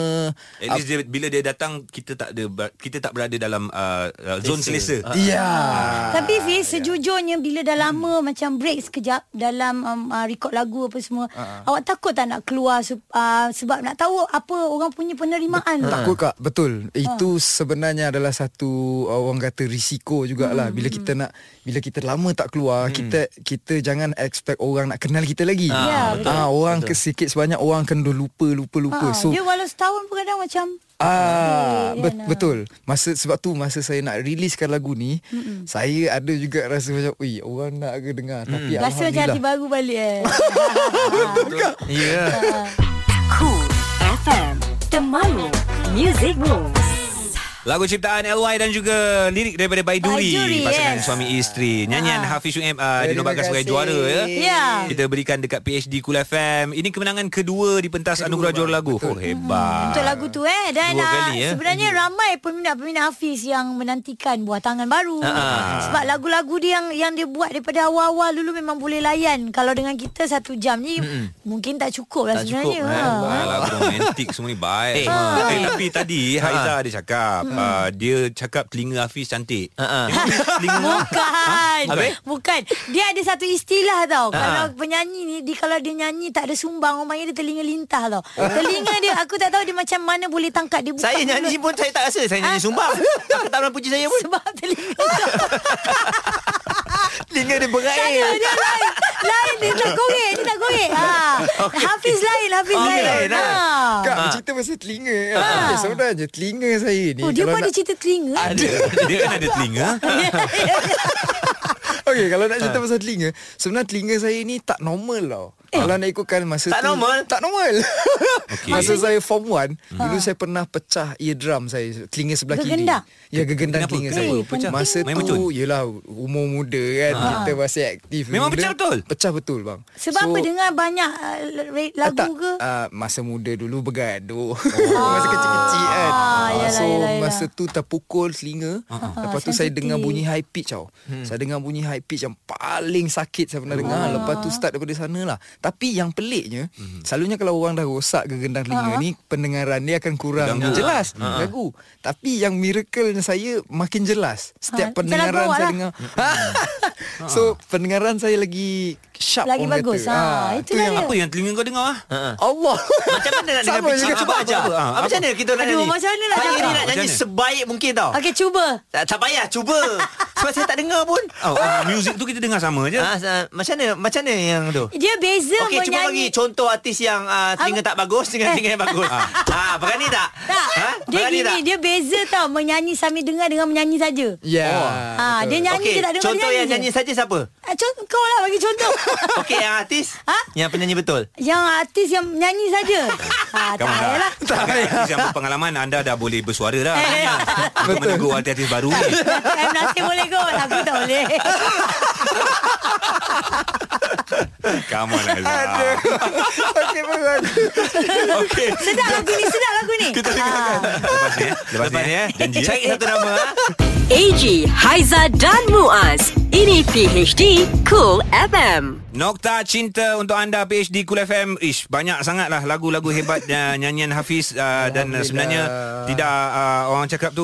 Speaker 1: At least dia, bila dia datang kita tak ada ber- kita tak berada dalam uh, uh, zon selesa.
Speaker 7: ya yeah.
Speaker 3: Tapi
Speaker 7: ya.
Speaker 3: Fiz Sejujurnya Bila dah lama
Speaker 7: Hmm.
Speaker 3: Macam break sekejap Dalam um, uh, Record lagu apa semua
Speaker 7: Ah,
Speaker 3: Awak takut tak nak keluar sup- uh, Sebab nak tahu Apa orang punya penerimaan
Speaker 7: Takut kan kak Betul
Speaker 3: Ha.
Speaker 7: Itu sebenarnya adalah satu uh, Orang kata risiko jugalah Bila
Speaker 3: Hmm.
Speaker 7: kita nak Bila kita lama tak
Speaker 1: Hmm.
Speaker 7: keluar Kita kita jangan expect orang nak kenal kita lagi
Speaker 3: Ya, betul.
Speaker 7: Ah, Orang ke sikit sebanyak Orang akan dah lupa Lupa lupa
Speaker 3: Ha,
Speaker 7: So
Speaker 3: dia walau setahun pun kadang macam
Speaker 7: Ah,
Speaker 3: Okey,
Speaker 7: bet,
Speaker 3: Riana.
Speaker 7: betul. Masa sebab tu masa saya nak releasekan lagu ni,
Speaker 3: Hmm.
Speaker 7: Mm-mm. saya ada juga rasa macam, "Ui, orang nak ke
Speaker 1: Hmm.
Speaker 7: dengar?" Mm. Tapi
Speaker 3: hmm. Rasa macam
Speaker 7: [LAUGHS]
Speaker 3: hati
Speaker 7: alhamdulillah.
Speaker 3: baru balik eh.
Speaker 2: Ya
Speaker 4: Cool FM Temanmu Music Moves
Speaker 1: Lagu ciptaan LY dan juga lirik daripada Baiduri,
Speaker 3: Baiduri,
Speaker 1: pasangan
Speaker 3: yes. Ah.
Speaker 1: suami isteri. Nyanyian Hafiz Uim uh, dinobatkan sebagai
Speaker 7: kasih.
Speaker 1: juara ya.
Speaker 3: Ya.
Speaker 1: Kita berikan dekat PhD Cool FM. Ini kemenangan kedua di pentas Anugerah Juara Lagu. Oh hebat.
Speaker 3: Untuk lagu tu eh Dan
Speaker 1: Dua
Speaker 3: ah,
Speaker 1: kali, eh.
Speaker 3: sebenarnya
Speaker 2: Hmm.
Speaker 3: ramai peminat-peminat Hafiz Yang menantikan buah tangan baru
Speaker 2: Ah,
Speaker 3: Sebab lagu-lagu dia yang, yang dia buat Daripada awal-awal dulu memang boleh layan Kalau dengan kita satu jam ni Mungkin tak cukup lah
Speaker 2: Hmm, Tak
Speaker 3: sebenarnya
Speaker 2: cukup, eh.
Speaker 3: ha.
Speaker 1: Ah,
Speaker 3: [LAUGHS]
Speaker 1: lagu romantik semua ni baik.
Speaker 2: Eh, Ah. Hmm.
Speaker 1: semua. Eh, tapi tadi Haiza dia cakap uh, dia cakap telinga Hafiz cantik.
Speaker 2: Ah, ah.
Speaker 1: Memang telinga
Speaker 3: Bukan
Speaker 1: Habis?
Speaker 3: Bukan Dia ada satu istilah tau
Speaker 2: Ah,
Speaker 3: Kalau penyanyi ni dia, Kalau dia nyanyi tak ada sumbang Orang panggil dia telinga lintah tau Telinga dia Aku tak tahu dia macam mana boleh tangkap Dia buka
Speaker 2: Oh. Saya nyanyi pun saya tak rasa Saya nyanyi sumbang Kakak [LAUGHS] tak pernah puji saya pun
Speaker 3: Ah. Sebab telinga tu
Speaker 2: [LAUGHS] Telinga dia
Speaker 3: Tak ada,
Speaker 2: berair
Speaker 3: dia lain Lain [LAUGHS] dia tak korek Dia tak korek ha. Hafiz lain Hafiz
Speaker 2: Okey,
Speaker 3: lain Ah.
Speaker 2: lain, ah.
Speaker 3: ha.
Speaker 7: Kak, cerita pasal telinga. Ha. Okay, sebenarnya telinga saya ni.
Speaker 3: Oh, dia
Speaker 7: kalau
Speaker 3: pun ada
Speaker 7: nak-
Speaker 3: cerita telinga
Speaker 7: [LAUGHS]
Speaker 1: Ada. Dia kan ada
Speaker 2: [LAUGHS]
Speaker 1: telinga.
Speaker 7: Okey, kalau nak cerita pasal telinga, sebenarnya telinga saya ni tak normal tau. Eh. Kalau nak ikutkan masa
Speaker 2: Tak
Speaker 7: tu
Speaker 2: normal?
Speaker 7: Tak normal okay.
Speaker 1: Okey.
Speaker 7: Masa saya form 1 Dulu saya pernah pecah eardrum saya Telinga sebelah
Speaker 3: Gegendang?
Speaker 7: kiri Ya gegendang
Speaker 1: Kenapa?
Speaker 7: telinga
Speaker 1: Kenapa
Speaker 7: saya
Speaker 1: pecah?
Speaker 7: Masa
Speaker 1: Main
Speaker 7: tu
Speaker 1: muncul?
Speaker 7: Yelah umur muda kan Kita masih aktif
Speaker 1: Memang
Speaker 7: muda.
Speaker 1: pecah betul?
Speaker 7: Pecah betul bang
Speaker 3: Sebab apa dengar banyak uh,
Speaker 2: Eh,
Speaker 3: re- lagu ke
Speaker 7: Uh, masa muda dulu bergaduh. Oh. [LAUGHS] masa kecil-kecil kan.
Speaker 3: Ah,
Speaker 7: Ah,
Speaker 3: yalah,
Speaker 7: so
Speaker 3: yalah, yalah.
Speaker 7: masa tu terpukul telinga. Lepas tu saya
Speaker 3: sensitif.
Speaker 7: dengar bunyi high pitch tau. Hmm. Saya dengar bunyi high pitch yang paling sakit saya pernah
Speaker 3: Oh.
Speaker 7: dengar. Lepas tu start daripada sana lah. Tapi yang peliknya,
Speaker 1: Mhm.
Speaker 7: hmm. selalunya kalau orang dah rosak gegendang
Speaker 3: Ha.
Speaker 7: telinga ni, pendengaran dia akan kurang
Speaker 1: Ganggu. Ha.
Speaker 7: jelas. Ganggu. Tapi yang miracle saya makin jelas. Setiap
Speaker 3: Ah, macam lagu
Speaker 7: pendengaran
Speaker 3: awak
Speaker 7: saya
Speaker 3: lah.
Speaker 7: dengar. [LAUGHS] Ha.
Speaker 1: Ha.
Speaker 7: so pendengaran saya lagi sharp
Speaker 3: Lagi
Speaker 7: orang
Speaker 3: bagus
Speaker 7: kata.
Speaker 3: ha.
Speaker 7: Ah,
Speaker 3: Itulah dia
Speaker 1: Apa yang telinga kau dengar ah?
Speaker 7: Allah
Speaker 2: Macam mana nak dengar
Speaker 7: Sama
Speaker 2: pitch?
Speaker 7: juga.
Speaker 2: Cuba
Speaker 7: Apa,
Speaker 2: ajar
Speaker 1: apa, apa? Ah,
Speaker 2: Macam mana kita nak
Speaker 3: Aduh,
Speaker 2: nyanyi
Speaker 3: macam mana nak
Speaker 2: Saya ni
Speaker 3: cakap?
Speaker 2: nak
Speaker 1: Macam
Speaker 2: nyanyi
Speaker 1: mana?
Speaker 2: sebaik mungkin tau
Speaker 3: Okey cuba
Speaker 2: tak, tak payah cuba Sebab saya tak dengar pun
Speaker 1: Oh, ah, music tu kita dengar sama je.
Speaker 2: Ah, sa- macam mana macam mana yang tu?
Speaker 3: Dia beza
Speaker 2: Okey, cuba bagi
Speaker 3: menyanyi Eh.
Speaker 2: contoh artis yang uh, telinga tak bagus dengan telinga yang bagus. ah, ah berani tak?
Speaker 3: Tak
Speaker 2: Ha?
Speaker 3: Dia
Speaker 2: Berani
Speaker 3: gini
Speaker 2: tak?
Speaker 3: Dia beza tau Menyanyi sambil dengar Dengan menyanyi saja
Speaker 7: Ya
Speaker 2: Oh.
Speaker 3: ha, Dia nyanyi
Speaker 2: Okey,
Speaker 3: Dia tak dengar
Speaker 2: contoh
Speaker 3: dia
Speaker 2: yang
Speaker 3: je.
Speaker 2: nyanyi saja siapa?
Speaker 3: Ah, Contoh kau lah bagi contoh
Speaker 2: [LAUGHS] Okey, yang artis?
Speaker 3: Ha?
Speaker 2: Yang penyanyi
Speaker 3: [LAUGHS]
Speaker 2: betul.
Speaker 3: Yang artis yang nyanyi
Speaker 1: [LAUGHS]
Speaker 3: saja ha, Tak
Speaker 1: Ah, Kamu dah
Speaker 3: payahlah [LAUGHS]
Speaker 1: Artis yang berpengalaman Anda dah boleh bersuara dah
Speaker 2: ya.
Speaker 3: Eh.
Speaker 1: Untuk menegur artis-artis baru ni
Speaker 3: M. Nasir boleh kot Aku tak
Speaker 1: [LAUGHS]
Speaker 3: boleh
Speaker 1: Come on Azhar
Speaker 7: Okey bang
Speaker 1: Okay
Speaker 3: Sedap lagu ni Sedap lagu ni Ah.
Speaker 1: Kita dengarkan Lepas ni eh Lepas,
Speaker 2: Lepas
Speaker 1: ni
Speaker 2: ni
Speaker 1: eh
Speaker 2: eh.
Speaker 1: Janji eh
Speaker 2: Cari satu nama ah.
Speaker 4: AG, Haiza dan Muaz Ini PHD Cool FM
Speaker 1: Nokta Cinta untuk anda PhD Kul FM Ish banyak sangatlah lagu-lagu hebat uh, nyanyian Hafiz uh, dan uh, sebenarnya tidak uh, orang cakap tu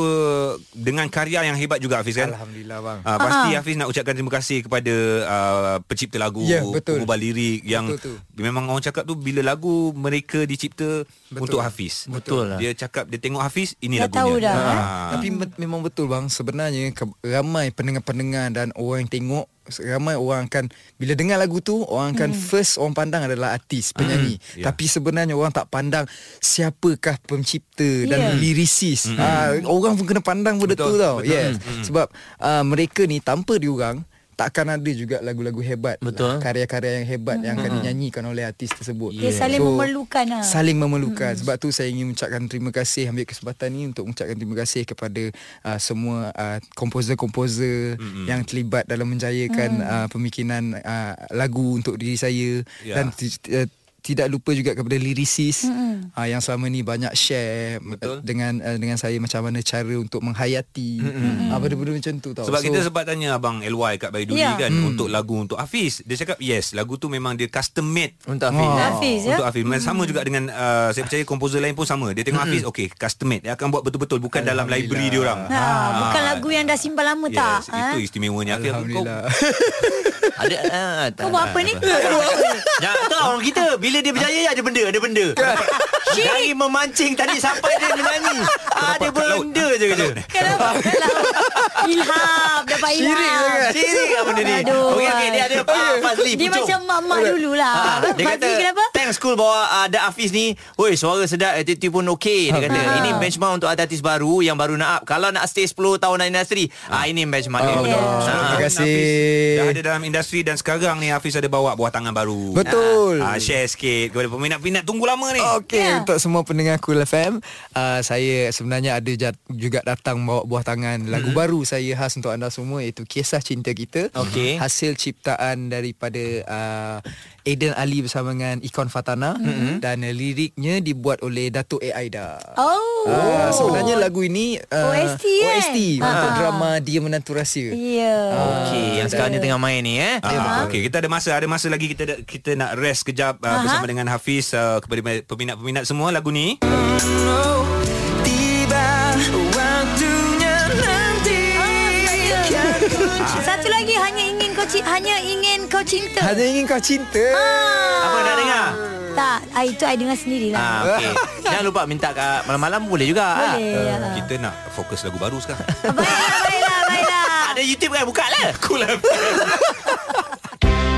Speaker 1: dengan karya yang hebat juga Hafiz kan
Speaker 7: Alhamdulillah Ah. bang
Speaker 1: Uh, pasti
Speaker 3: Ah.
Speaker 1: uh-huh. Hafiz nak ucapkan terima kasih kepada uh, pencipta lagu
Speaker 7: Ya, betul.
Speaker 1: pengubah lirik yang
Speaker 7: Betul
Speaker 1: memang orang cakap tu bila lagu mereka dicipta betul. untuk Hafiz.
Speaker 2: Betul lah.
Speaker 1: Dia cakap dia tengok Hafiz ini
Speaker 3: Dah
Speaker 1: lagunya.
Speaker 3: tahu dah, eh?
Speaker 1: Ha.
Speaker 7: Tapi me- memang betul bang Sebenarnya ke- Ramai pendengar-pendengar Dan orang yang tengok Ramai orang akan Bila dengar lagu tu Orang
Speaker 3: Hmm.
Speaker 7: akan First orang pandang adalah Artis, penyanyi
Speaker 1: Ya.
Speaker 7: Tapi sebenarnya Orang tak pandang Siapakah pencipta
Speaker 3: Ya.
Speaker 7: Dan lirisis Ah, Orang pun kena pandang Benda
Speaker 1: Hmm. Betul, Hmm.
Speaker 7: tu tau
Speaker 1: betul.
Speaker 7: Yes Sebab ah, Mereka ni Tanpa diorang takkan ada juga lagu-lagu hebat lah.
Speaker 2: Betul.
Speaker 7: karya-karya yang hebat yang
Speaker 1: Hmm.
Speaker 7: akan dinyanyikan oleh artis tersebut
Speaker 3: Hmm. Dia saling memerlukan lah.
Speaker 7: saling memerlukan sebab tu saya ingin mengucapkan terima kasih ambil kesempatan ni untuk mengucapkan terima kasih kepada uh, semua uh, komposer-komposer yang terlibat dalam menjayakan uh, pemikiran uh, lagu untuk diri saya
Speaker 1: Ya.
Speaker 7: dan ti- ti- uh, tidak lupa juga kepada lirisis mm-hmm. uh, yang selama ni banyak share Betul.
Speaker 1: Betul.
Speaker 7: dengan uh, dengan saya macam mana cara untuk menghayati mm-hmm. uh, benda-benda macam tu tau
Speaker 1: Sebab so, kita sebab tanya abang LY kat Baiduli yeah.
Speaker 3: Ya.
Speaker 1: kan hmm. untuk lagu untuk Hafiz. Dia cakap yes, lagu tu memang dia custom made
Speaker 2: Untuk Hafiz.
Speaker 7: Wah.
Speaker 3: Hafiz, ya?
Speaker 1: Untuk Hafiz. Hmm. Sama juga dengan uh, saya percaya komposer lain pun sama. Dia tengok hmm. Hafiz, okey, custom made. Dia akan buat betul-betul bukan dalam library dia
Speaker 3: [LAUGHS]
Speaker 1: orang.
Speaker 3: Ha, bukan lagu ya? yang dah simpan lama
Speaker 1: Yes,
Speaker 3: tak? Ha?
Speaker 1: tak, itu istimewanya Hafiz. Kau
Speaker 7: Alhamdulillah
Speaker 2: Ada ah, tak-
Speaker 3: Kau buat apa ni?
Speaker 2: Ya, tu lah orang kita bila dia berjaya ada benda, ada benda. Dari memancing tadi sampai dia menyanyi. Ada
Speaker 1: kat laut?
Speaker 2: benda je kerja.
Speaker 3: Kenapa? Ilham, dapat ilham.
Speaker 7: Syirik sangat.
Speaker 2: Siri apa lah benda ni?
Speaker 3: Aduh.
Speaker 2: Okey okey dia ada Pak Fazli.
Speaker 3: Dia
Speaker 2: Pucung.
Speaker 3: macam mak-mak dululah.
Speaker 2: Ah,
Speaker 3: Ha,
Speaker 2: dia kata
Speaker 3: kenapa?
Speaker 2: Thanks school bawa ada Hafiz ni. Woi suara sedap attitude pun okey dia kata.
Speaker 3: Ah.
Speaker 2: Ini benchmark untuk artis baru yang baru nak up. Kalau nak stay 10 tahun dalam industri, ah ini benchmark dia.
Speaker 7: Oh,
Speaker 3: betul.
Speaker 2: Ah.
Speaker 1: Sebelum
Speaker 7: Terima
Speaker 1: ni
Speaker 7: kasih.
Speaker 1: Hafiz Dah ada dalam industri Dan sekarang ni Hafiz ada bawa Buah tangan baru
Speaker 7: Betul.
Speaker 1: ha, Share sikit Kepada peminat-peminat Tunggu lama ni
Speaker 7: Okey
Speaker 3: Ya.
Speaker 7: yeah. untuk semua pendengar Cool FM, uh, saya sebenarnya ada jat, juga datang bawa buah tangan lagu
Speaker 2: Mm-hmm.
Speaker 7: hmm. baru saya khas untuk anda semua iaitu Kisah Cinta Kita.
Speaker 2: Okey.
Speaker 7: Hasil ciptaan daripada uh, Aiden Ali bersama dengan Ikon Fatana
Speaker 2: Mm-hmm.
Speaker 7: hmm. dan uh, liriknya dibuat oleh Datuk A Aida.
Speaker 3: [LAUGHS] Oh.
Speaker 1: Ah,
Speaker 7: Uh, sebenarnya lagu ini uh,
Speaker 3: OST, kan?
Speaker 7: OST untuk
Speaker 3: Ah.
Speaker 7: drama Dia Menantu Rahsia. Ah,
Speaker 3: Ya.
Speaker 2: Okey yang sekarang dia tengah main ni eh.
Speaker 1: Ah, okey kita ada masa ada masa lagi kita kita nak rest kejap uh, bersama dengan Hafiz uh, kepada peminat-peminat semua lagu ni.
Speaker 3: Ah. [LAUGHS] Satu lagi hanya ingin kau cinta, hanya ingin kau cinta.
Speaker 7: Hanya ingin kau cinta.
Speaker 2: Apa nak dengar?
Speaker 3: Tak, ah, itu I dengar sendirilah.
Speaker 2: Ah, okey. [LAUGHS] Jangan lupa minta kat malam-malam boleh juga. ah.
Speaker 3: Boleh. ya.
Speaker 1: Kita nak fokus lagu baru sekarang.
Speaker 3: Baiklah, baiklah, baiklah.
Speaker 2: Ah, Ada YouTube kan buka lah. Cool lah.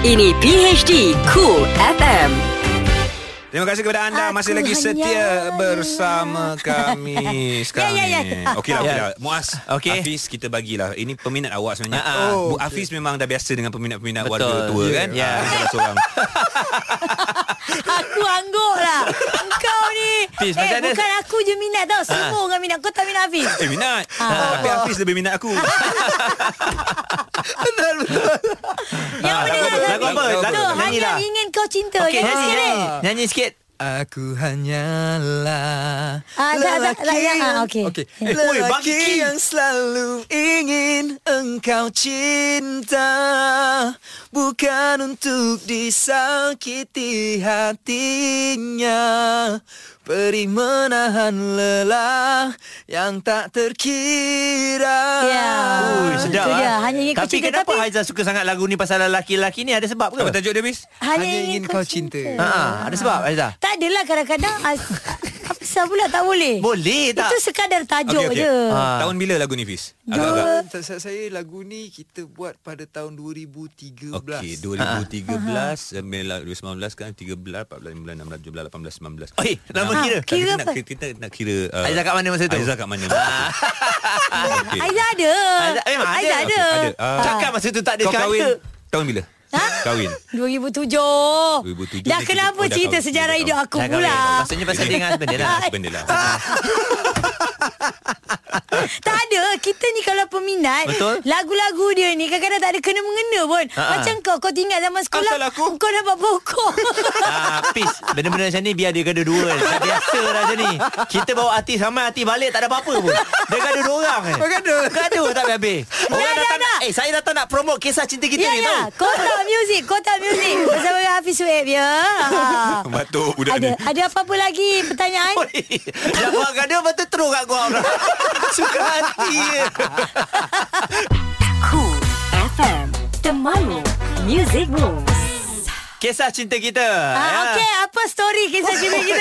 Speaker 4: Ini PHD Cool FM.
Speaker 1: Terima kasih kepada
Speaker 3: Aku
Speaker 1: anda masih lagi setia
Speaker 3: hanya-
Speaker 1: bersama
Speaker 2: [LAUGHS]
Speaker 1: kami sekarang
Speaker 3: Ya, ya,
Speaker 1: ni.
Speaker 3: ya.
Speaker 1: Okeylah
Speaker 2: Ya.
Speaker 1: okeylah. lah. Muaz,
Speaker 2: Okey.
Speaker 1: Hafiz kita bagilah. Ini peminat awak sebenarnya.
Speaker 2: Ah, ah.
Speaker 1: Oh, Bu Hafiz memang dah biasa dengan peminat-peminat
Speaker 2: Betul.
Speaker 1: warga tua
Speaker 2: Ya.
Speaker 1: kan?
Speaker 2: Ya.
Speaker 1: Ah,
Speaker 2: [LAUGHS]
Speaker 1: salah seorang.
Speaker 3: [LAUGHS] Aku angguk lah Engkau ni
Speaker 2: Fiz,
Speaker 3: Eh
Speaker 2: macam mana- Ah.
Speaker 3: bukan aku je minat tau Semua orang minat Kau tak minat Hafiz
Speaker 1: Eh minat.
Speaker 3: Ah.
Speaker 1: Tapi Hafiz lebih minat aku.
Speaker 3: Yang
Speaker 2: lagu apa? Lagu apa?
Speaker 3: mendengar Hafiz.
Speaker 2: Lagu
Speaker 3: Tu,
Speaker 2: apa?
Speaker 3: Eh, Hanya
Speaker 2: Nyanyilah.
Speaker 3: ingin kau cinta ya.
Speaker 2: Okey,
Speaker 3: Nyanyi
Speaker 2: nyanyi,
Speaker 3: sikit
Speaker 2: nyanyi. Nyanyi sikit.
Speaker 7: Aku hanyalah
Speaker 3: Ah, tak, tak, tak, yang- ah, okey.
Speaker 7: okay.
Speaker 3: Eh,
Speaker 2: oi, bagi
Speaker 7: ya, Lelaki
Speaker 2: key.
Speaker 7: yang selalu ingin engkau cinta Bukan untuk disakiti hatinya Peri menahan lelah yang tak terkira
Speaker 3: Ya.
Speaker 2: [LAUGHS] Ui, sedap
Speaker 3: Itu
Speaker 2: ah.
Speaker 3: dia. Hanya ingin kau
Speaker 2: Tapi
Speaker 3: cinta.
Speaker 2: kenapa
Speaker 3: Tapi-
Speaker 2: Haiza suka sangat lagu ni pasal lelaki-lelaki ni ada sebab ke?
Speaker 1: Apa tajuk dia Hafiz?
Speaker 3: Hanya ingin kau cinta
Speaker 2: Ha, ah, ada sebab Haiza.
Speaker 3: Tak adalah kadang-kadang as- Apa sebab pula tak boleh
Speaker 2: Boleh tak?
Speaker 3: Itu sekadar tajuk
Speaker 1: Okey, okey.
Speaker 3: je
Speaker 2: Ah.
Speaker 1: Tahun bila lagu ni Hafiz? Agak-agak.
Speaker 7: Agak-agak. Saya, saya lagu ni kita buat pada tahun 2013.
Speaker 1: Okey, 2013,
Speaker 3: Ha,
Speaker 1: uh-huh. 2019 kan 13, 14, 15, 16, 17, 18, 19.
Speaker 2: Oi, lama
Speaker 1: Nah,
Speaker 2: kira.
Speaker 1: tak,
Speaker 3: Kira
Speaker 1: Ah,
Speaker 3: apa?
Speaker 1: kita,
Speaker 3: Ah,
Speaker 1: Nak, kita nak kira uh,
Speaker 2: Aizah kat mana masa tu?
Speaker 1: Aizah kat mana? Ah, Okey.
Speaker 3: Aizah ada
Speaker 2: Haiza eh, memang ada.
Speaker 3: Aizah ada
Speaker 1: Okey, ada. Ah.
Speaker 2: Cakap masa tu tak ada
Speaker 1: Kau
Speaker 2: sekarang
Speaker 1: kahwin
Speaker 2: ke?
Speaker 1: tahun bila?
Speaker 3: Ha?
Speaker 2: [LAUGHS]
Speaker 1: Kahwin.
Speaker 3: 2007
Speaker 1: 2007
Speaker 3: Dah
Speaker 1: dia
Speaker 3: kenapa
Speaker 1: kita- oh, dah
Speaker 3: cerita
Speaker 1: kahwin.
Speaker 3: sejarah
Speaker 1: Dah
Speaker 3: hidup aku
Speaker 2: Dah kahwin.
Speaker 3: pula
Speaker 2: Maksudnya pasal dia dengan husband dia lah.
Speaker 1: Husband dia lah.
Speaker 3: [LAUGHS] Tak ada Kita ni kalau peminat
Speaker 2: Betul. Ha,
Speaker 3: Lagu-lagu dia ni Kadang-kadang tak ada kena-mengena pun
Speaker 2: Ha-ha.
Speaker 3: Macam kau Kau tinggal zaman sekolah
Speaker 1: Asal aku?
Speaker 3: Kau dapat
Speaker 2: [LAUGHS]
Speaker 3: pokok
Speaker 2: Ah, Hafiz Benda-benda macam ni Biar dia gaduh dua Dah biasa dah macam ni Kita bawa artis Ramai artis balik Tak ada apa-apa pun Dia gaduh dua orang eh. Gaduh Gaduh tak habis Orang
Speaker 3: Dah, dah,
Speaker 2: datang
Speaker 3: dah.
Speaker 2: Eh saya datang nak promote Kisah cinta kita
Speaker 3: Ya
Speaker 2: ni
Speaker 3: ya
Speaker 2: tahu
Speaker 3: Kotak muzik Kotak muzik Bersama dengan Hafiz Sueb ya Ha.
Speaker 1: Batuk budak
Speaker 3: Ada
Speaker 1: ni.
Speaker 3: ada apa-apa lagi pertanyaan?
Speaker 2: [LAUGHS] Oi, Dah buat gaduh Lepas tu terus kat gua orang Suka hati je
Speaker 4: Cool FM. The Malu Music Rules.
Speaker 2: Kisah cinta kita.
Speaker 3: Ah,
Speaker 2: Ya.
Speaker 3: Okey, apa story kisah cinta
Speaker 2: [LAUGHS]
Speaker 3: kita?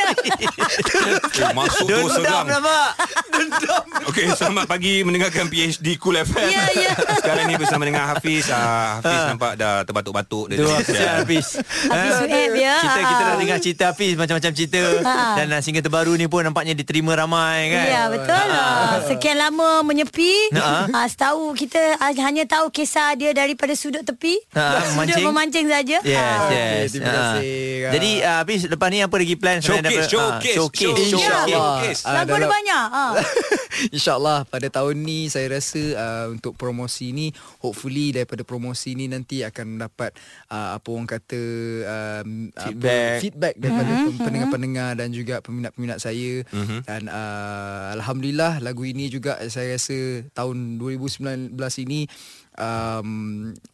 Speaker 1: Eh, masuk tu
Speaker 2: Dendam lah,
Speaker 1: seram.
Speaker 2: nampak. Dendam.
Speaker 1: Okey, selamat pagi mendengarkan PhD Cool FM.
Speaker 3: Ya, ya.
Speaker 1: Sekarang ni bersama dengan Hafiz. Ah, Hafiz nampak dah terbatuk-batuk dia.
Speaker 2: Tu
Speaker 1: tu.
Speaker 2: kesian Ha. Hafiz
Speaker 3: Hafiz
Speaker 2: Ha?
Speaker 3: Suhaib, ya.
Speaker 2: Kita kita dah
Speaker 3: Ha.
Speaker 2: dengar cerita Hafiz Macam-macam cerita
Speaker 3: Ha.
Speaker 2: Dan uh, single terbaru ni pun Nampaknya diterima ramai kan Ah.
Speaker 3: Ya betul lah Sekian lama menyepi
Speaker 2: Ha.
Speaker 3: ha, Setahu kita ah, hanya tahu kisah dia daripada sudut tepi
Speaker 2: Ha,
Speaker 3: Sudut
Speaker 2: memancing.
Speaker 3: memancing saja
Speaker 2: Yes,
Speaker 3: Ah.
Speaker 2: yes.
Speaker 7: terima
Speaker 2: Ha.
Speaker 7: kasih. Ha.
Speaker 2: Jadi uh, Hafiz lepas ni apa lagi plan sebenarnya? Ada
Speaker 1: Showcase,
Speaker 2: apa-
Speaker 1: showcase,
Speaker 2: Ah, showcase,
Speaker 1: showcase.
Speaker 2: showcase.
Speaker 7: InsyaAllah
Speaker 1: Showcase.
Speaker 7: Ah,
Speaker 3: Lagu ada
Speaker 7: dalam-
Speaker 3: banyak
Speaker 2: [LAUGHS]
Speaker 3: ha.
Speaker 7: InsyaAllah pada tahun ni saya rasa uh, untuk promosi ni hopefully daripada promosi ni nanti akan mendapat uh, apa orang kata um,
Speaker 2: Feedback.
Speaker 7: apa, feedback daripada mm-hmm. pendengar-pendengar dan juga peminat-peminat saya
Speaker 2: Mhm.
Speaker 7: mm-hmm. dan uh, alhamdulillah lagu ini juga saya rasa tahun 2019 ini um,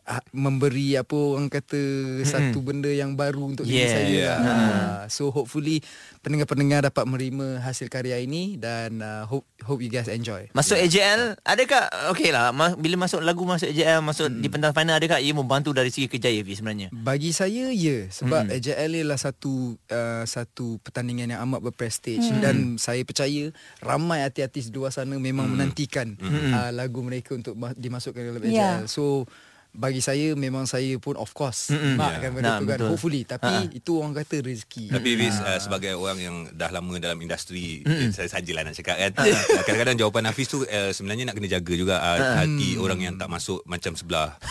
Speaker 7: ha- memberi apa orang kata mm-hmm. satu benda yang baru untuk diri
Speaker 2: Yeah.
Speaker 7: saya
Speaker 1: Yeah.
Speaker 7: lah. Uh, so hopefully pendengar-pendengar dapat menerima hasil karya ini dan uh, hope hope you guys enjoy.
Speaker 2: Masuk AJL Adakah Okay lah ma- Bila masuk lagu Masuk AJL Masuk di
Speaker 7: Hmm.
Speaker 2: pentas final Adakah ia membantu Dari segi kerjaya Hafiz sebenarnya
Speaker 7: Bagi saya ya sebab mm. AJL ialah satu uh, satu pertandingan yang amat berprestij mm. dan saya percaya ramai artis-artis di luar sana memang mm. menantikan mm. Uh, lagu mereka untuk ma- dimasukkan dalam AJL.
Speaker 3: Ya.
Speaker 7: Yeah. So bagi saya memang saya pun of course mm mak kan
Speaker 2: Nah,
Speaker 7: benda tu kan
Speaker 2: betul.
Speaker 7: hopefully tapi itu orang kata rezeki.
Speaker 1: Tapi Hafiz uh, sebagai orang yang dah lama dalam industri mm. Saya sajalah nak cakap
Speaker 3: Ah.
Speaker 1: [LAUGHS] kan uh, Kadang-kadang jawapan Hafiz tu uh, Sebenarnya nak kena jaga juga uh, Hati
Speaker 3: Hmm.
Speaker 1: orang yang tak masuk Macam sebelah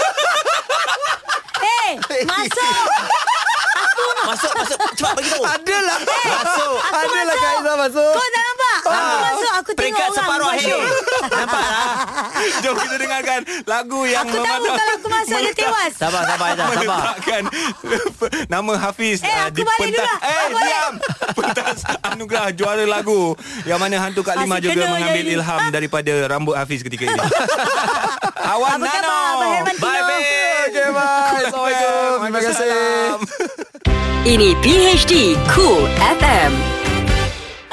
Speaker 1: [LAUGHS]
Speaker 3: Eh masuk
Speaker 2: Masuk Masuk Cepat bagi tahu Adalah Masuk lah
Speaker 3: Adalah Eh, masuk. Kak Izzah
Speaker 2: masuk
Speaker 3: Kau tak nampak Aku
Speaker 2: Ah.
Speaker 3: masuk Aku tengok
Speaker 2: Peringkat
Speaker 3: orang
Speaker 2: separuh
Speaker 3: buat
Speaker 2: akhir
Speaker 3: show.
Speaker 2: Nampak lah
Speaker 1: Jom kita dengarkan Lagu yang
Speaker 3: Aku tahu
Speaker 1: memandang-
Speaker 3: kalau aku masuk
Speaker 1: [LAUGHS]
Speaker 3: Dia tewas
Speaker 2: Sabar sabar Aizah Sabar
Speaker 1: meletakkan [LAUGHS] nama Hafiz
Speaker 3: Eh,
Speaker 1: ah,
Speaker 3: aku balik dulu lah.
Speaker 1: eh
Speaker 3: Aku balik.
Speaker 1: diam pentas anugerah juara lagu yang mana hantu Kak Lima
Speaker 3: Asyik
Speaker 1: juga
Speaker 3: Ah, kena
Speaker 1: mengambil
Speaker 3: jadi. Ah.
Speaker 1: ilham daripada rambut Hafiz ketika
Speaker 3: [LAUGHS]
Speaker 1: ini Awan
Speaker 3: Apa
Speaker 1: Nano
Speaker 3: khabar, Abang Herman
Speaker 1: Oh, bye
Speaker 3: Tino?
Speaker 1: babe
Speaker 7: Okay, bye. Assalamualaikum. Terima kasih.
Speaker 4: Ini PHD Cool FM.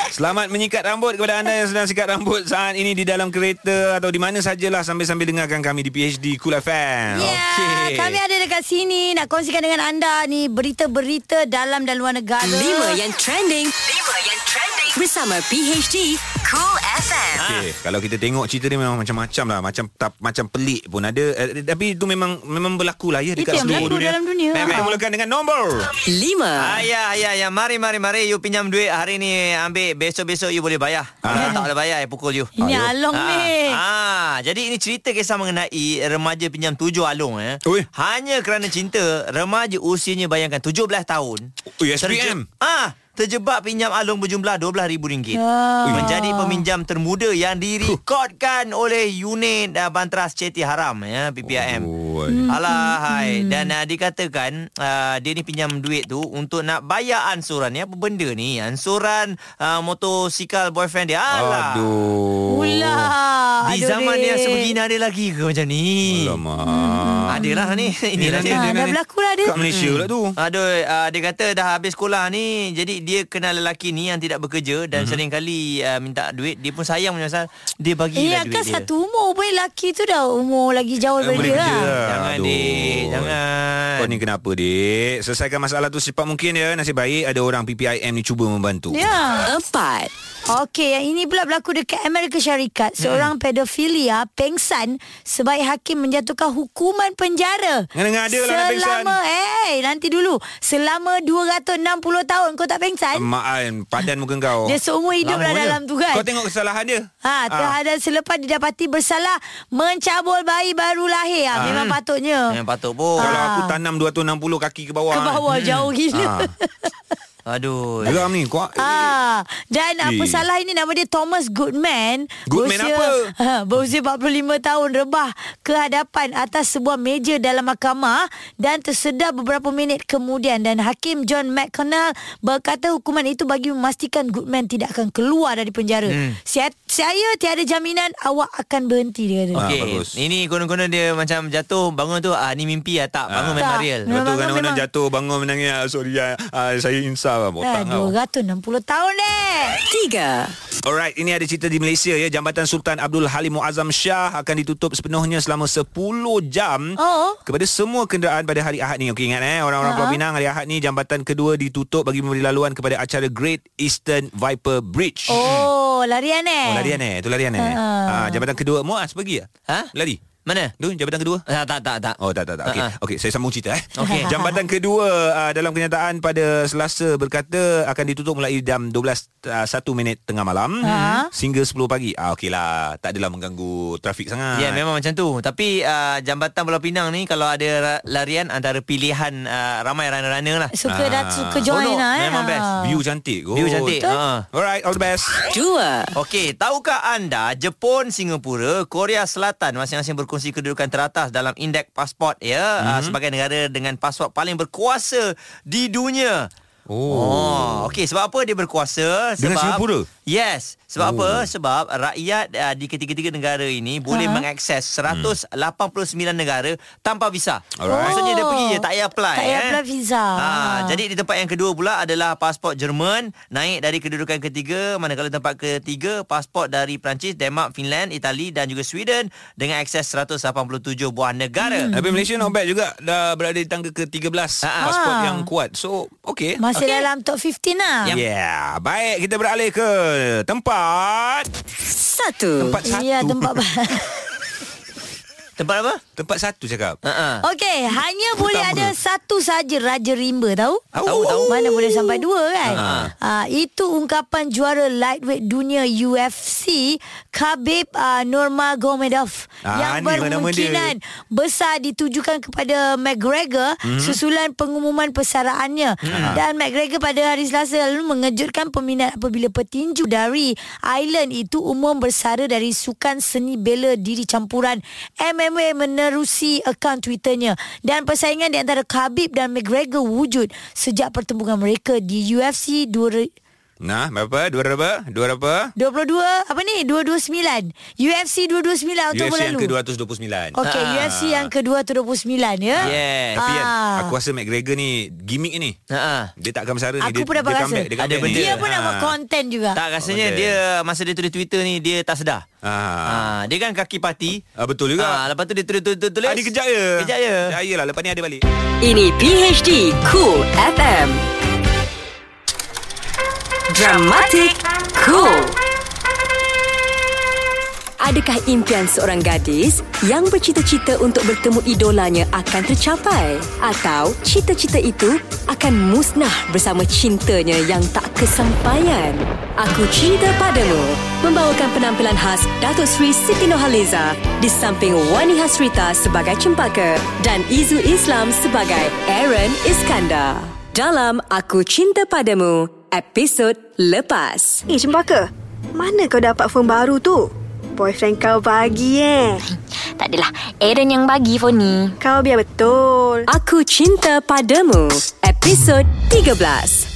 Speaker 1: Selamat menyikat rambut kepada anda yang sedang sikat rambut saat ini di dalam kereta atau di mana sajalah sambil-sambil dengarkan kami di PHD Cool FM.
Speaker 3: Ya,
Speaker 1: Okey.
Speaker 3: kami ada dekat sini nak kongsikan dengan anda ni berita-berita dalam dan luar negara.
Speaker 4: Lima yang trending. Lima yang trending. Bersama PHD Cool FM.
Speaker 1: Okay. Kalau kita tengok cerita ni memang macam-macam lah Macam tap, macam pelik pun ada eh, Tapi itu memang memang berlaku lah ya
Speaker 3: Itu
Speaker 1: Dekat
Speaker 3: yang
Speaker 1: seluruh
Speaker 3: berlaku
Speaker 1: dunia
Speaker 3: dalam dunia.
Speaker 1: Baik, baik,
Speaker 3: Ha.
Speaker 1: mulakan dengan nombor
Speaker 4: Lima.
Speaker 2: Ayah, ayah, ayah. Mari, mari, mari. You pinjam duit hari ni. Ambil besok-besok you boleh bayar.
Speaker 1: Ah.
Speaker 2: Kalau tak boleh bayar, I pukul you.
Speaker 3: Ini Along ni.
Speaker 2: Ah, jadi ini cerita kisah mengenai remaja pinjam tujuh alung eh.
Speaker 1: Ui.
Speaker 2: Hanya kerana cinta, remaja usianya bayangkan 17 tahun.
Speaker 1: Ui,
Speaker 2: Terje-
Speaker 1: SPM.
Speaker 2: ah, terjebak pinjam alung berjumlah RM12,000.
Speaker 3: Ah.
Speaker 2: Menjadi peminjam termuda yang direkodkan oleh unit uh, Bantras Ceti Haram ya, PPIM.
Speaker 1: Oi.
Speaker 3: Hmm.
Speaker 2: Alahai
Speaker 1: Hmm.
Speaker 2: Dan uh, dikatakan uh, Dia ni pinjam duit tu Untuk nak bayar ansuran ni Apa benda ni Ansuran uh, Motosikal boyfriend dia Alah
Speaker 1: Aduh
Speaker 3: Ulah.
Speaker 2: Di
Speaker 3: aduh,
Speaker 2: zaman
Speaker 3: Rin.
Speaker 2: yang sebegini Ada lagi ke macam ni
Speaker 1: Alamak
Speaker 2: Adalah ni Inilah
Speaker 3: dia.
Speaker 2: dia
Speaker 3: dah berlaku lah dia.
Speaker 1: Kat Malaysia pula tu
Speaker 2: Aduh, uh, dia kata dah habis sekolah ni Jadi dia kenal lelaki ni yang tidak bekerja
Speaker 1: Hmm.
Speaker 2: Dan mm-hmm. sering kali uh, minta duit Dia pun sayang punya pasal Dia bagi
Speaker 3: Eh,
Speaker 2: lah duit
Speaker 3: kan
Speaker 2: dia
Speaker 3: satu umur pun lelaki tu dah umur lagi jauh daripada
Speaker 1: Boleh
Speaker 3: dia
Speaker 1: kerja
Speaker 3: lah.
Speaker 1: lah.
Speaker 2: Jangan
Speaker 1: Aduh.
Speaker 2: dik Jangan
Speaker 1: Kau ni kenapa dik Selesaikan masalah tu secepat mungkin ya Nasib baik ada orang PPIM ni cuba membantu
Speaker 3: Ya.
Speaker 4: Empat.
Speaker 3: Okey, yang ini pula berlaku dekat Amerika Syarikat. Seorang pedofilia pengsan sebaik hakim menjatuhkan hukuman penjara.
Speaker 1: Dengar-dengar ada lah nak pengsan.
Speaker 3: Selama, eh, nanti dulu. Selama 260 tahun kau tak pengsan,
Speaker 1: Mak An Padan muka
Speaker 3: kan?
Speaker 1: kau
Speaker 3: Dia
Speaker 1: ya.
Speaker 3: seumur hidup
Speaker 2: Lama
Speaker 3: lah
Speaker 2: je.
Speaker 3: dalam tu kan
Speaker 1: Kau tengok kesalahan dia Ah.
Speaker 3: Ha, terhadap selepas didapati bersalah mencabul bayi baru lahir. Ha, memang patutnya.
Speaker 2: Yang patut pun
Speaker 1: Kalau aku tanam 260 kaki ke bawah
Speaker 3: Ah. Ke
Speaker 1: kan.
Speaker 3: bawah jauh gila.
Speaker 2: Aduh
Speaker 1: Geram ni kau.
Speaker 3: Ah, dan apa
Speaker 1: Eh.
Speaker 3: salah ini nama dia Thomas Goodman.
Speaker 1: Goodman
Speaker 3: berusia,
Speaker 1: apa?
Speaker 3: [LAUGHS] Ha, berusia 45 tahun rebah ke hadapan atas sebuah meja dalam mahkamah dan tersedar beberapa minit kemudian dan hakim John McConnell berkata hukuman itu bagi memastikan Goodman tidak akan keluar dari penjara. Hmm. Saya, saya tiada jaminan awak akan berhenti dia kata.
Speaker 1: Ah,
Speaker 2: Okey,
Speaker 1: bagus.
Speaker 2: ini konon-konon dia macam jatuh bangun tu ah ni mimpi ah tak bangun
Speaker 3: Tak.
Speaker 2: memang real.
Speaker 1: Lepas tu
Speaker 3: Memang-
Speaker 1: kadang-kadang
Speaker 3: memang-
Speaker 1: jatuh bangun menangis ah, Sorry ah, ah, saya insaf lah
Speaker 3: Dah
Speaker 1: Botak kau
Speaker 3: 260 tahun eh.
Speaker 4: Tiga.
Speaker 1: Alright, ini ada cerita di Malaysia ya. Jabatan Sultan Abdul Halim Muazzam Shah akan ditutup sepenuhnya selama 10 jam
Speaker 3: Oh. Ah.
Speaker 1: kepada semua kenderaan pada hari Ahad ni. Okey ingat eh, orang-orang Pulau Pinang hari Ahad ni jambatan kedua ditutup bagi memberi laluan kepada acara Great Eastern Viper Bridge.
Speaker 3: Oh, larian eh. Ah.
Speaker 1: Oh, larian eh, tu larian eh. Ha, jabatan kedua Muaz pergi ah.
Speaker 2: Ha?
Speaker 1: Lari.
Speaker 2: Mana?
Speaker 1: Tu jabatan kedua.
Speaker 2: Ah, tak tak tak.
Speaker 1: Oh tak tak tak. Okey.
Speaker 2: Ah, ah.
Speaker 1: Okey, saya sambung cerita eh.
Speaker 3: [LAUGHS]
Speaker 2: Okey. [LAUGHS]
Speaker 1: Jambatan kedua uh, dalam kenyataan pada Selasa berkata akan ditutup mulai jam 12 uh, 1 minit tengah malam
Speaker 3: Ha.
Speaker 1: sehingga 10 pagi. Ah okeylah, tak adalah mengganggu trafik sangat.
Speaker 2: Ya memang macam tu Tapi uh, Jambatan Pulau Pinang ni Kalau ada ra- larian Antara pilihan uh, Ramai runner-runner lah
Speaker 3: Suka dah
Speaker 1: Ah.
Speaker 3: suka join
Speaker 2: Bodoh,
Speaker 3: lah eh.
Speaker 2: memang best.
Speaker 3: Ah.
Speaker 1: View cantik kot.
Speaker 2: View cantik ha.
Speaker 1: Alright, all the best.
Speaker 4: Dua.
Speaker 2: Okey, tahukah anda Jepun, Singapura, Korea Selatan masing-masing berkongsi kedudukan teratas dalam indeks pasport ya mm-hmm.
Speaker 1: Mhm.
Speaker 2: uh, sebagai negara dengan pasport paling berkuasa di dunia. Oh, okey sebab apa dia berkuasa? Sebab
Speaker 1: Dengan Singapura?
Speaker 2: Yes, sebab oh. apa? Sebab rakyat uh, di ketiga-tiga negara ini boleh uh-huh.
Speaker 1: Hmm.
Speaker 2: mengakses 189 negara tanpa visa.
Speaker 1: Alright.
Speaker 2: Maksudnya dia pergi je tak payah apply.
Speaker 3: Oh. Tak payah
Speaker 2: eh.
Speaker 3: apply visa.
Speaker 2: Ha, jadi di tempat yang kedua pula adalah pasport Jerman naik dari kedudukan ketiga manakala tempat ketiga pasport dari Perancis, Denmark, Finland, Itali dan juga Sweden dengan akses 187 buah negara.
Speaker 1: Tapi Malaysia not bad juga dah berada di tangga ke-13 pasport
Speaker 3: Ah.
Speaker 1: yang kuat. So, okay.
Speaker 3: Masih
Speaker 1: okay.
Speaker 3: dalam top 15 lah.
Speaker 1: Yeah, baik kita beralih ke tempat
Speaker 4: Satu.
Speaker 1: tempat satu.
Speaker 3: Ya,
Speaker 1: [LAUGHS]
Speaker 3: tempat
Speaker 2: Tempat apa?
Speaker 1: tempat satu cakap.
Speaker 2: Uh-uh.
Speaker 3: Okey, hanya boleh
Speaker 1: Utama.
Speaker 3: ada satu saja Raja Rimba tahu?
Speaker 2: Tahu, tahu.
Speaker 3: Mana boleh sampai dua kan?
Speaker 2: Ha.
Speaker 3: Ha. itu ungkapan juara lightweight dunia UFC Khabib uh, Nurmagomedov
Speaker 1: Ah,
Speaker 3: yang
Speaker 1: ni pun nama dia. Mhm.
Speaker 3: bermungkinan besar ditujukan kepada McGregor susulan pengumuman persaraannya
Speaker 2: Hmm.
Speaker 3: dan McGregor pada hari Selasa lalu mengejutkan peminat apabila petinju dari Ireland itu umum bersara dari sukan seni bela diri campuran MMA menerusi akaun Twitternya dan persaingan di antara Khabib dan McGregor wujud sejak pertembungan mereka di UFC 2
Speaker 1: Nah, berapa? Dua berapa? Dua berapa?
Speaker 3: 22 apa ni 229 UFC 229 Oktober
Speaker 1: UFC yang
Speaker 3: lalu
Speaker 1: ke-229.
Speaker 3: Okey,
Speaker 2: Ah.
Speaker 3: UFC yang ke-229 ya.
Speaker 2: Yes.
Speaker 1: Tapi kan
Speaker 3: Ah.
Speaker 1: Aku rasa McGregor ni Gimmick ni
Speaker 2: Uh-uh.
Speaker 1: Dia tak akan bersara ni
Speaker 3: Aku
Speaker 1: dia,
Speaker 3: pun dapat
Speaker 1: dia
Speaker 3: rasa.
Speaker 1: comeback, dia
Speaker 2: Ada
Speaker 1: comeback
Speaker 2: benda.
Speaker 1: ni.
Speaker 3: Dia pun nak
Speaker 2: Ha.
Speaker 3: buat konten juga.
Speaker 2: Tak rasanya
Speaker 1: Content.
Speaker 2: dia masa dia tulis Twitter ni dia tak sedar.
Speaker 1: Ah.
Speaker 2: Ah, dia kan kaki parti.
Speaker 1: Ah, betul juga.
Speaker 2: Ah, lepas tu dia tulis tulis. tulis.
Speaker 1: Ah, dia kejap je
Speaker 2: Kejap je.
Speaker 1: Kejap je lah Lepas ni ada balik
Speaker 4: Ini PHD Cool FM. Dramatic Cool. Adakah impian seorang gadis yang bercita-cita untuk bertemu idolanya akan tercapai? Atau cita-cita itu akan musnah bersama cintanya yang tak kesampaian? Aku Cinta Padamu membawakan penampilan khas Datuk Seri Siti Nohaliza di samping Wani Hasrita sebagai Cempaka dan Izu Islam sebagai Aaron Iskandar. Dalam Aku Cinta Padamu, episod lepas.
Speaker 8: Eh, Cempaka. Mana kau dapat phone baru tu? Boyfriend kau bagi
Speaker 9: [LAUGHS]
Speaker 8: eh.
Speaker 9: Tak adalah Aaron yang bagi phone ni
Speaker 8: Kau biar betul.
Speaker 4: Aku Cinta Padamu, episod 13.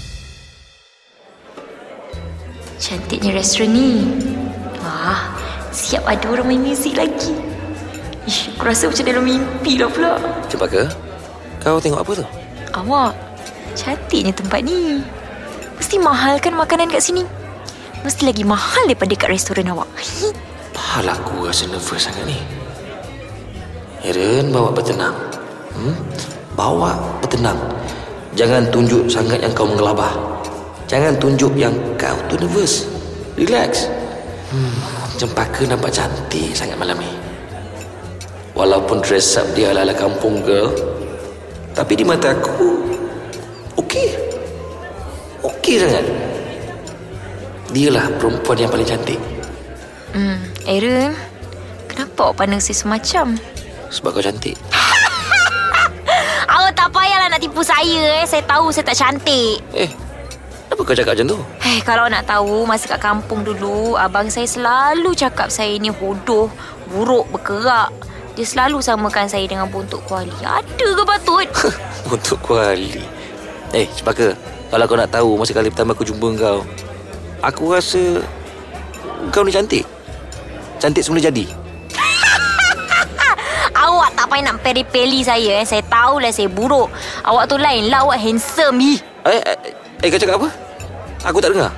Speaker 9: Cantiknya restoran ni Wah Siap ada orang main muzik lagi Ish, aku rasa macam dalam mimpi lah pula
Speaker 10: Cempaka, kau tengok apa tu?
Speaker 9: Awak Cantiknya tempat ni Mesti mahal kan makanan kat sini Mesti lagi mahal daripada kat restoran awak [LAUGHS]
Speaker 10: Pahal aku rasa nervous sangat ni. Aaron, bawa bertenang. Hmm? Bawa bertenang. Jangan tunjuk sangat yang kau mengelabah. Jangan tunjuk yang kau tu nervous. Relax. Hmm, Cempaka nampak cantik sangat malam ni. Walaupun dress up dia ala-ala kampung girl, tapi di mata aku, okey. Okey sangat. Dialah perempuan yang paling cantik.
Speaker 9: Hmm Aaron Kenapa awak pandang saya semacam
Speaker 10: Sebab kau cantik
Speaker 9: Awak tak payahlah nak tipu saya eh Saya tahu saya tak cantik
Speaker 10: Eh Kenapa kau cakap macam tu? [LAUGHS]
Speaker 9: Hei, Eh, kalau nak tahu masa kat kampung dulu, abang saya selalu cakap saya ni hodoh, buruk berkerak. Dia selalu samakan saya dengan buntut kuali. Ada ke patut?
Speaker 10: Untuk kuali Eh Cempaka Kalau kau nak tahu Masa kali pertama aku jumpa kau Aku rasa Kau ni cantik Cantik semula jadi
Speaker 9: Awak tak payah nak peri-peli saya eh. Saya tahulah saya buruk. Awak tu lain lah, awak handsome. Ih.
Speaker 10: Eh, eh Eh kau cakap apa? Aku tak dengar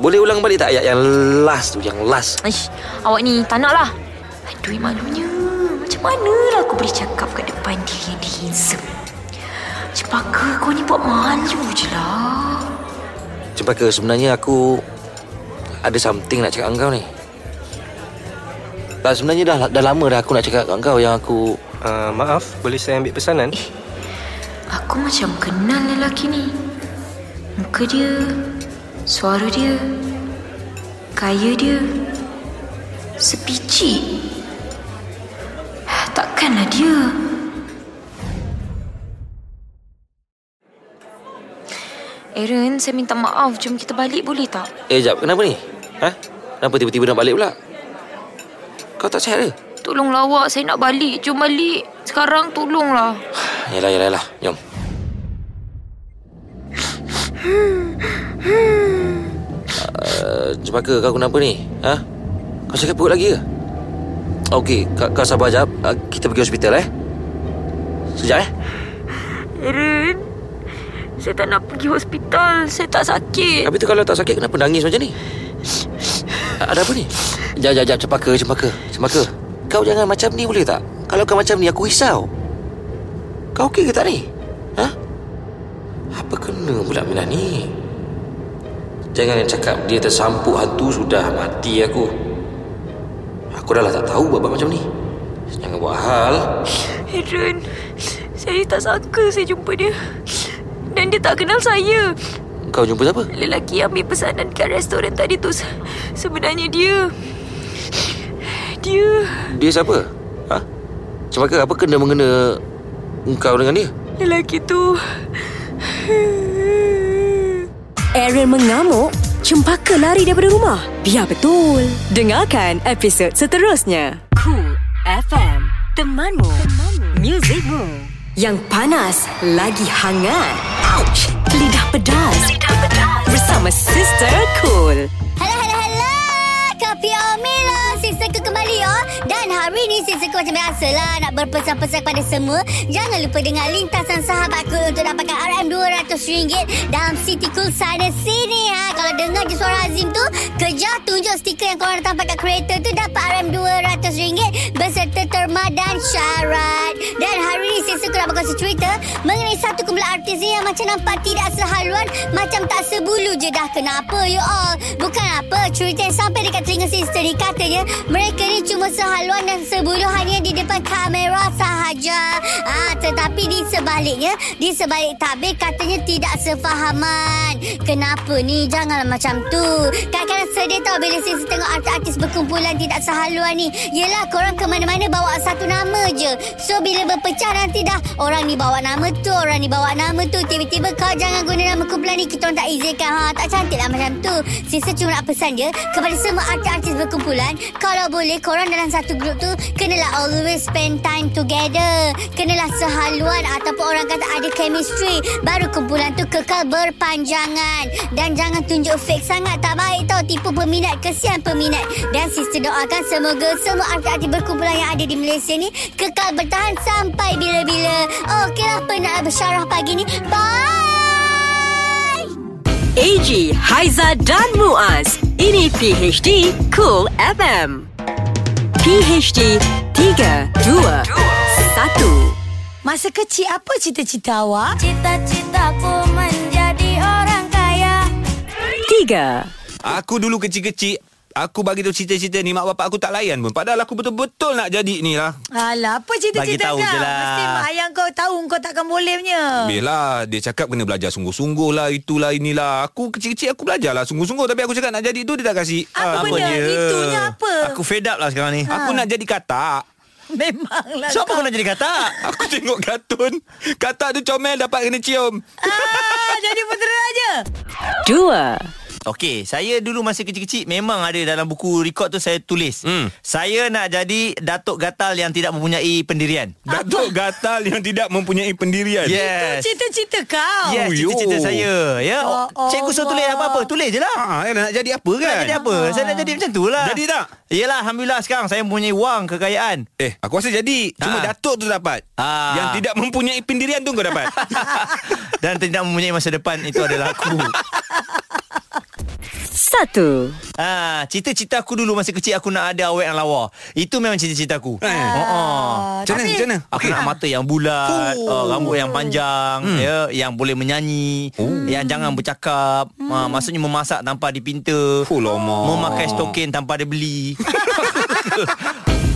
Speaker 10: Boleh ulang balik tak ayat yang last tu Yang last
Speaker 9: Ish, awak ni tak nak lah. Aduh, malunya. Macam manalah aku boleh cakap kat depan dia yang dia handsome. Cepaka kau ni buat malu je lah.
Speaker 10: Cempaka sebenarnya aku Ada something nak cakap dengan kau ni tak, Sebenarnya dah, dah lama dah aku nak cakap dengan kau Yang aku
Speaker 11: uh, Maaf Boleh saya ambil
Speaker 10: [LAUGHS]
Speaker 11: pesanan?
Speaker 9: Aku macam kenal lelaki ni. Muka dia, suara dia, gaya dia, sepicik. Ah, Takkanlah dia. Aaron, saya minta maaf. Jom kita balik boleh tak?
Speaker 10: Eh jap kenapa ni? Ha? Kenapa tiba-tiba nak balik pula? Kau tak sihat ke?
Speaker 9: Tolonglah awak, saya nak balik. Jom balik. Sekarang tolonglah.
Speaker 10: Yalah yalah yalah Jom
Speaker 1: [LAUGHS]
Speaker 10: uh, Cempaka kau kenapa ni? Ha? Kau sakit perut lagi ke? Okey kau, kau sabar jap uh, Kita pergi hospital eh Sekejap eh
Speaker 9: Erin Saya tak nak pergi hospital Saya tak sakit
Speaker 10: Habis tu kalau tak sakit kenapa nangis macam ni? A- Ada apa ni? Jap jap jap Cempaka Cempaka Cempaka Kau jangan macam ni boleh tak? Kalau kau macam ni aku risau Kau okey ke tak ni? Ha? Apa kena pula Mila ni? Jangan yang cakap dia tersampuk hantu sudah mati aku Aku dah lah tak tahu buat macam ni Jangan buat hal
Speaker 9: Aaron Saya tak sangka saya jumpa dia Dan dia tak kenal saya
Speaker 10: Kau jumpa siapa?
Speaker 9: Lelaki yang ambil pesanan kat restoran tadi tu se- Sebenarnya dia Dia
Speaker 10: Dia siapa? Ha? Cempaka apa kena mengena Engkau dengan dia?
Speaker 9: Lelaki
Speaker 8: [SIGHS]
Speaker 9: tu
Speaker 4: Aaron mengamuk, cempaka lari daripada rumah. Biar betul. Dengarkan episod seterusnya. Cool FM. Temanmu. Muzikmu. Yang panas, lagi hangat. Ouch! Lidah pedas. Lidah pedas. Bersama Sister Cool.
Speaker 12: Hello, hello, hello. Kopi Omila. Sisa ku kembali, oh. Dan hari ni sisa ku macam biasalah nak berpesan-pesan kepada semua. Jangan lupa dengar lintasan sahabatku untuk dapatkan RM200 dalam City Cool sana sini. Ha. Kalau dengar je suara Azim tu, kejar tunjuk stiker yang korang tampak kat kereta tu dapat RM200 beserta terma dan syarat. Dan hari ni sisa ku nak berkongsi cerita mengenai satu kumpulan artis ni yang macam nampak tidak sehaluan, macam tak sebulu je dah. Kenapa you all? Bukan apa, cerita yang sampai dekat telinga sister ni katanya mereka ni cuma sehaluan dan sebulu hanya di depan kamera sahaja. Ah, tetapi di sebaliknya, di sebalik tabir katanya tidak sefahaman. Kenapa ni? Janganlah macam tu. Kadang-kadang sedih tau bila sister tengok artis-artis berkumpulan tidak sehaluan ni. Yelah, korang ke mana-mana bawa satu nama je. So, bila berpecah nanti dah orang ni bawa nama tu, orang ni bawa nama tu. Tiba-tiba kau jangan guna nama kumpulan ni, kita orang tak izinkan. Ha, tak cantik lah macam tu. Sister cuma nak pesan je kepada semua artis-artis berkumpulan, kalau boleh korang dalam satu grup tu, kenalah always spend time together. Kenalah sehaluan ataupun orang kata ada chemistry. Baru kumpulan tu kekal berpanjangan. Dan jangan tunjuk fake sangat, tak baik tau. Tipu peminat, kesian peminat. Dan sister doakan semoga semua artis-artis berkumpulan yang ada di Malaysia ni kekal bertahan sampai bila-bila. Okeylah penat bersyarah pagi ni. Bye!
Speaker 4: AG, Haiza dan Muaz. Ini PHD Cool FM. PHD 3, 2, 1.
Speaker 3: Masa kecil apa cita-cita awak?
Speaker 13: Cita-citaku menjadi orang kaya
Speaker 4: 3.
Speaker 1: Aku dulu kecil-kecil Aku bagi tu cita-cita ni Mak bapak aku tak layan pun Padahal aku betul-betul nak jadi ni lah
Speaker 3: Alah, apa
Speaker 1: Bagi
Speaker 3: cita-cita
Speaker 1: tahu
Speaker 3: kau?
Speaker 1: je lah.
Speaker 3: Mesti mak ayah kau tahu kau takkan boleh punya.
Speaker 1: Yelah Dia cakap kena belajar sungguh-sungguh lah Itulah inilah Aku kecil-kecil aku belajar lah Sungguh-sungguh Tapi aku cakap nak jadi tu Dia tak kasi
Speaker 3: Apa benda? Itunya apa?
Speaker 1: Aku fed up lah sekarang ni
Speaker 3: Ha.
Speaker 1: Aku nak jadi katak
Speaker 3: Memanglah
Speaker 1: Siapa kau nak jadi katak? [LAUGHS] aku tengok kartun Katak tu comel dapat kena cium
Speaker 3: Ah, jadi putera aja.
Speaker 4: 2.
Speaker 2: Okey, saya dulu masa kecil-kecil memang ada dalam buku rekod tu saya tulis. Hmm. Saya nak jadi Datuk Gatal yang tidak mempunyai pendirian.
Speaker 1: Datuk Gatal yang tidak mempunyai pendirian.
Speaker 2: Ya, Yes.
Speaker 3: Itu cita-cita kau.
Speaker 2: Yes, cita-cita saya. Ya,
Speaker 3: Ya
Speaker 2: cikgu suruh tulis apa-apa, tulis je lah.
Speaker 1: Ha, nak jadi apa kan?
Speaker 2: Nak jadi apa?
Speaker 3: Ah.
Speaker 2: Saya nak jadi macam tu lah.
Speaker 1: Jadi tak?
Speaker 2: Yelah, Alhamdulillah sekarang saya mempunyai wang, kekayaan. Ah.
Speaker 1: Eh, aku rasa jadi. Cuma Datuk tu dapat.
Speaker 2: Ha.
Speaker 1: Yang tidak mempunyai pendirian tu kau dapat.
Speaker 2: [LAUGHS] Dan tidak mempunyai masa depan itu adalah aku.
Speaker 4: Satu.
Speaker 2: Ah, cita-cita aku dulu masa kecil aku nak ada awet yang lawa. Itu memang cita-cita aku. Eh. Oh, oh.
Speaker 3: Ah,
Speaker 1: Macam mana, macam mana?
Speaker 2: Aku nak mata yang bulat, oh. rambut yang panjang, hmm. ya, yang boleh menyanyi,
Speaker 1: Oh.
Speaker 2: yang jangan bercakap, hmm. ah, maksudnya memasak tanpa dipinta, oh, memakai stokin tanpa ada beli.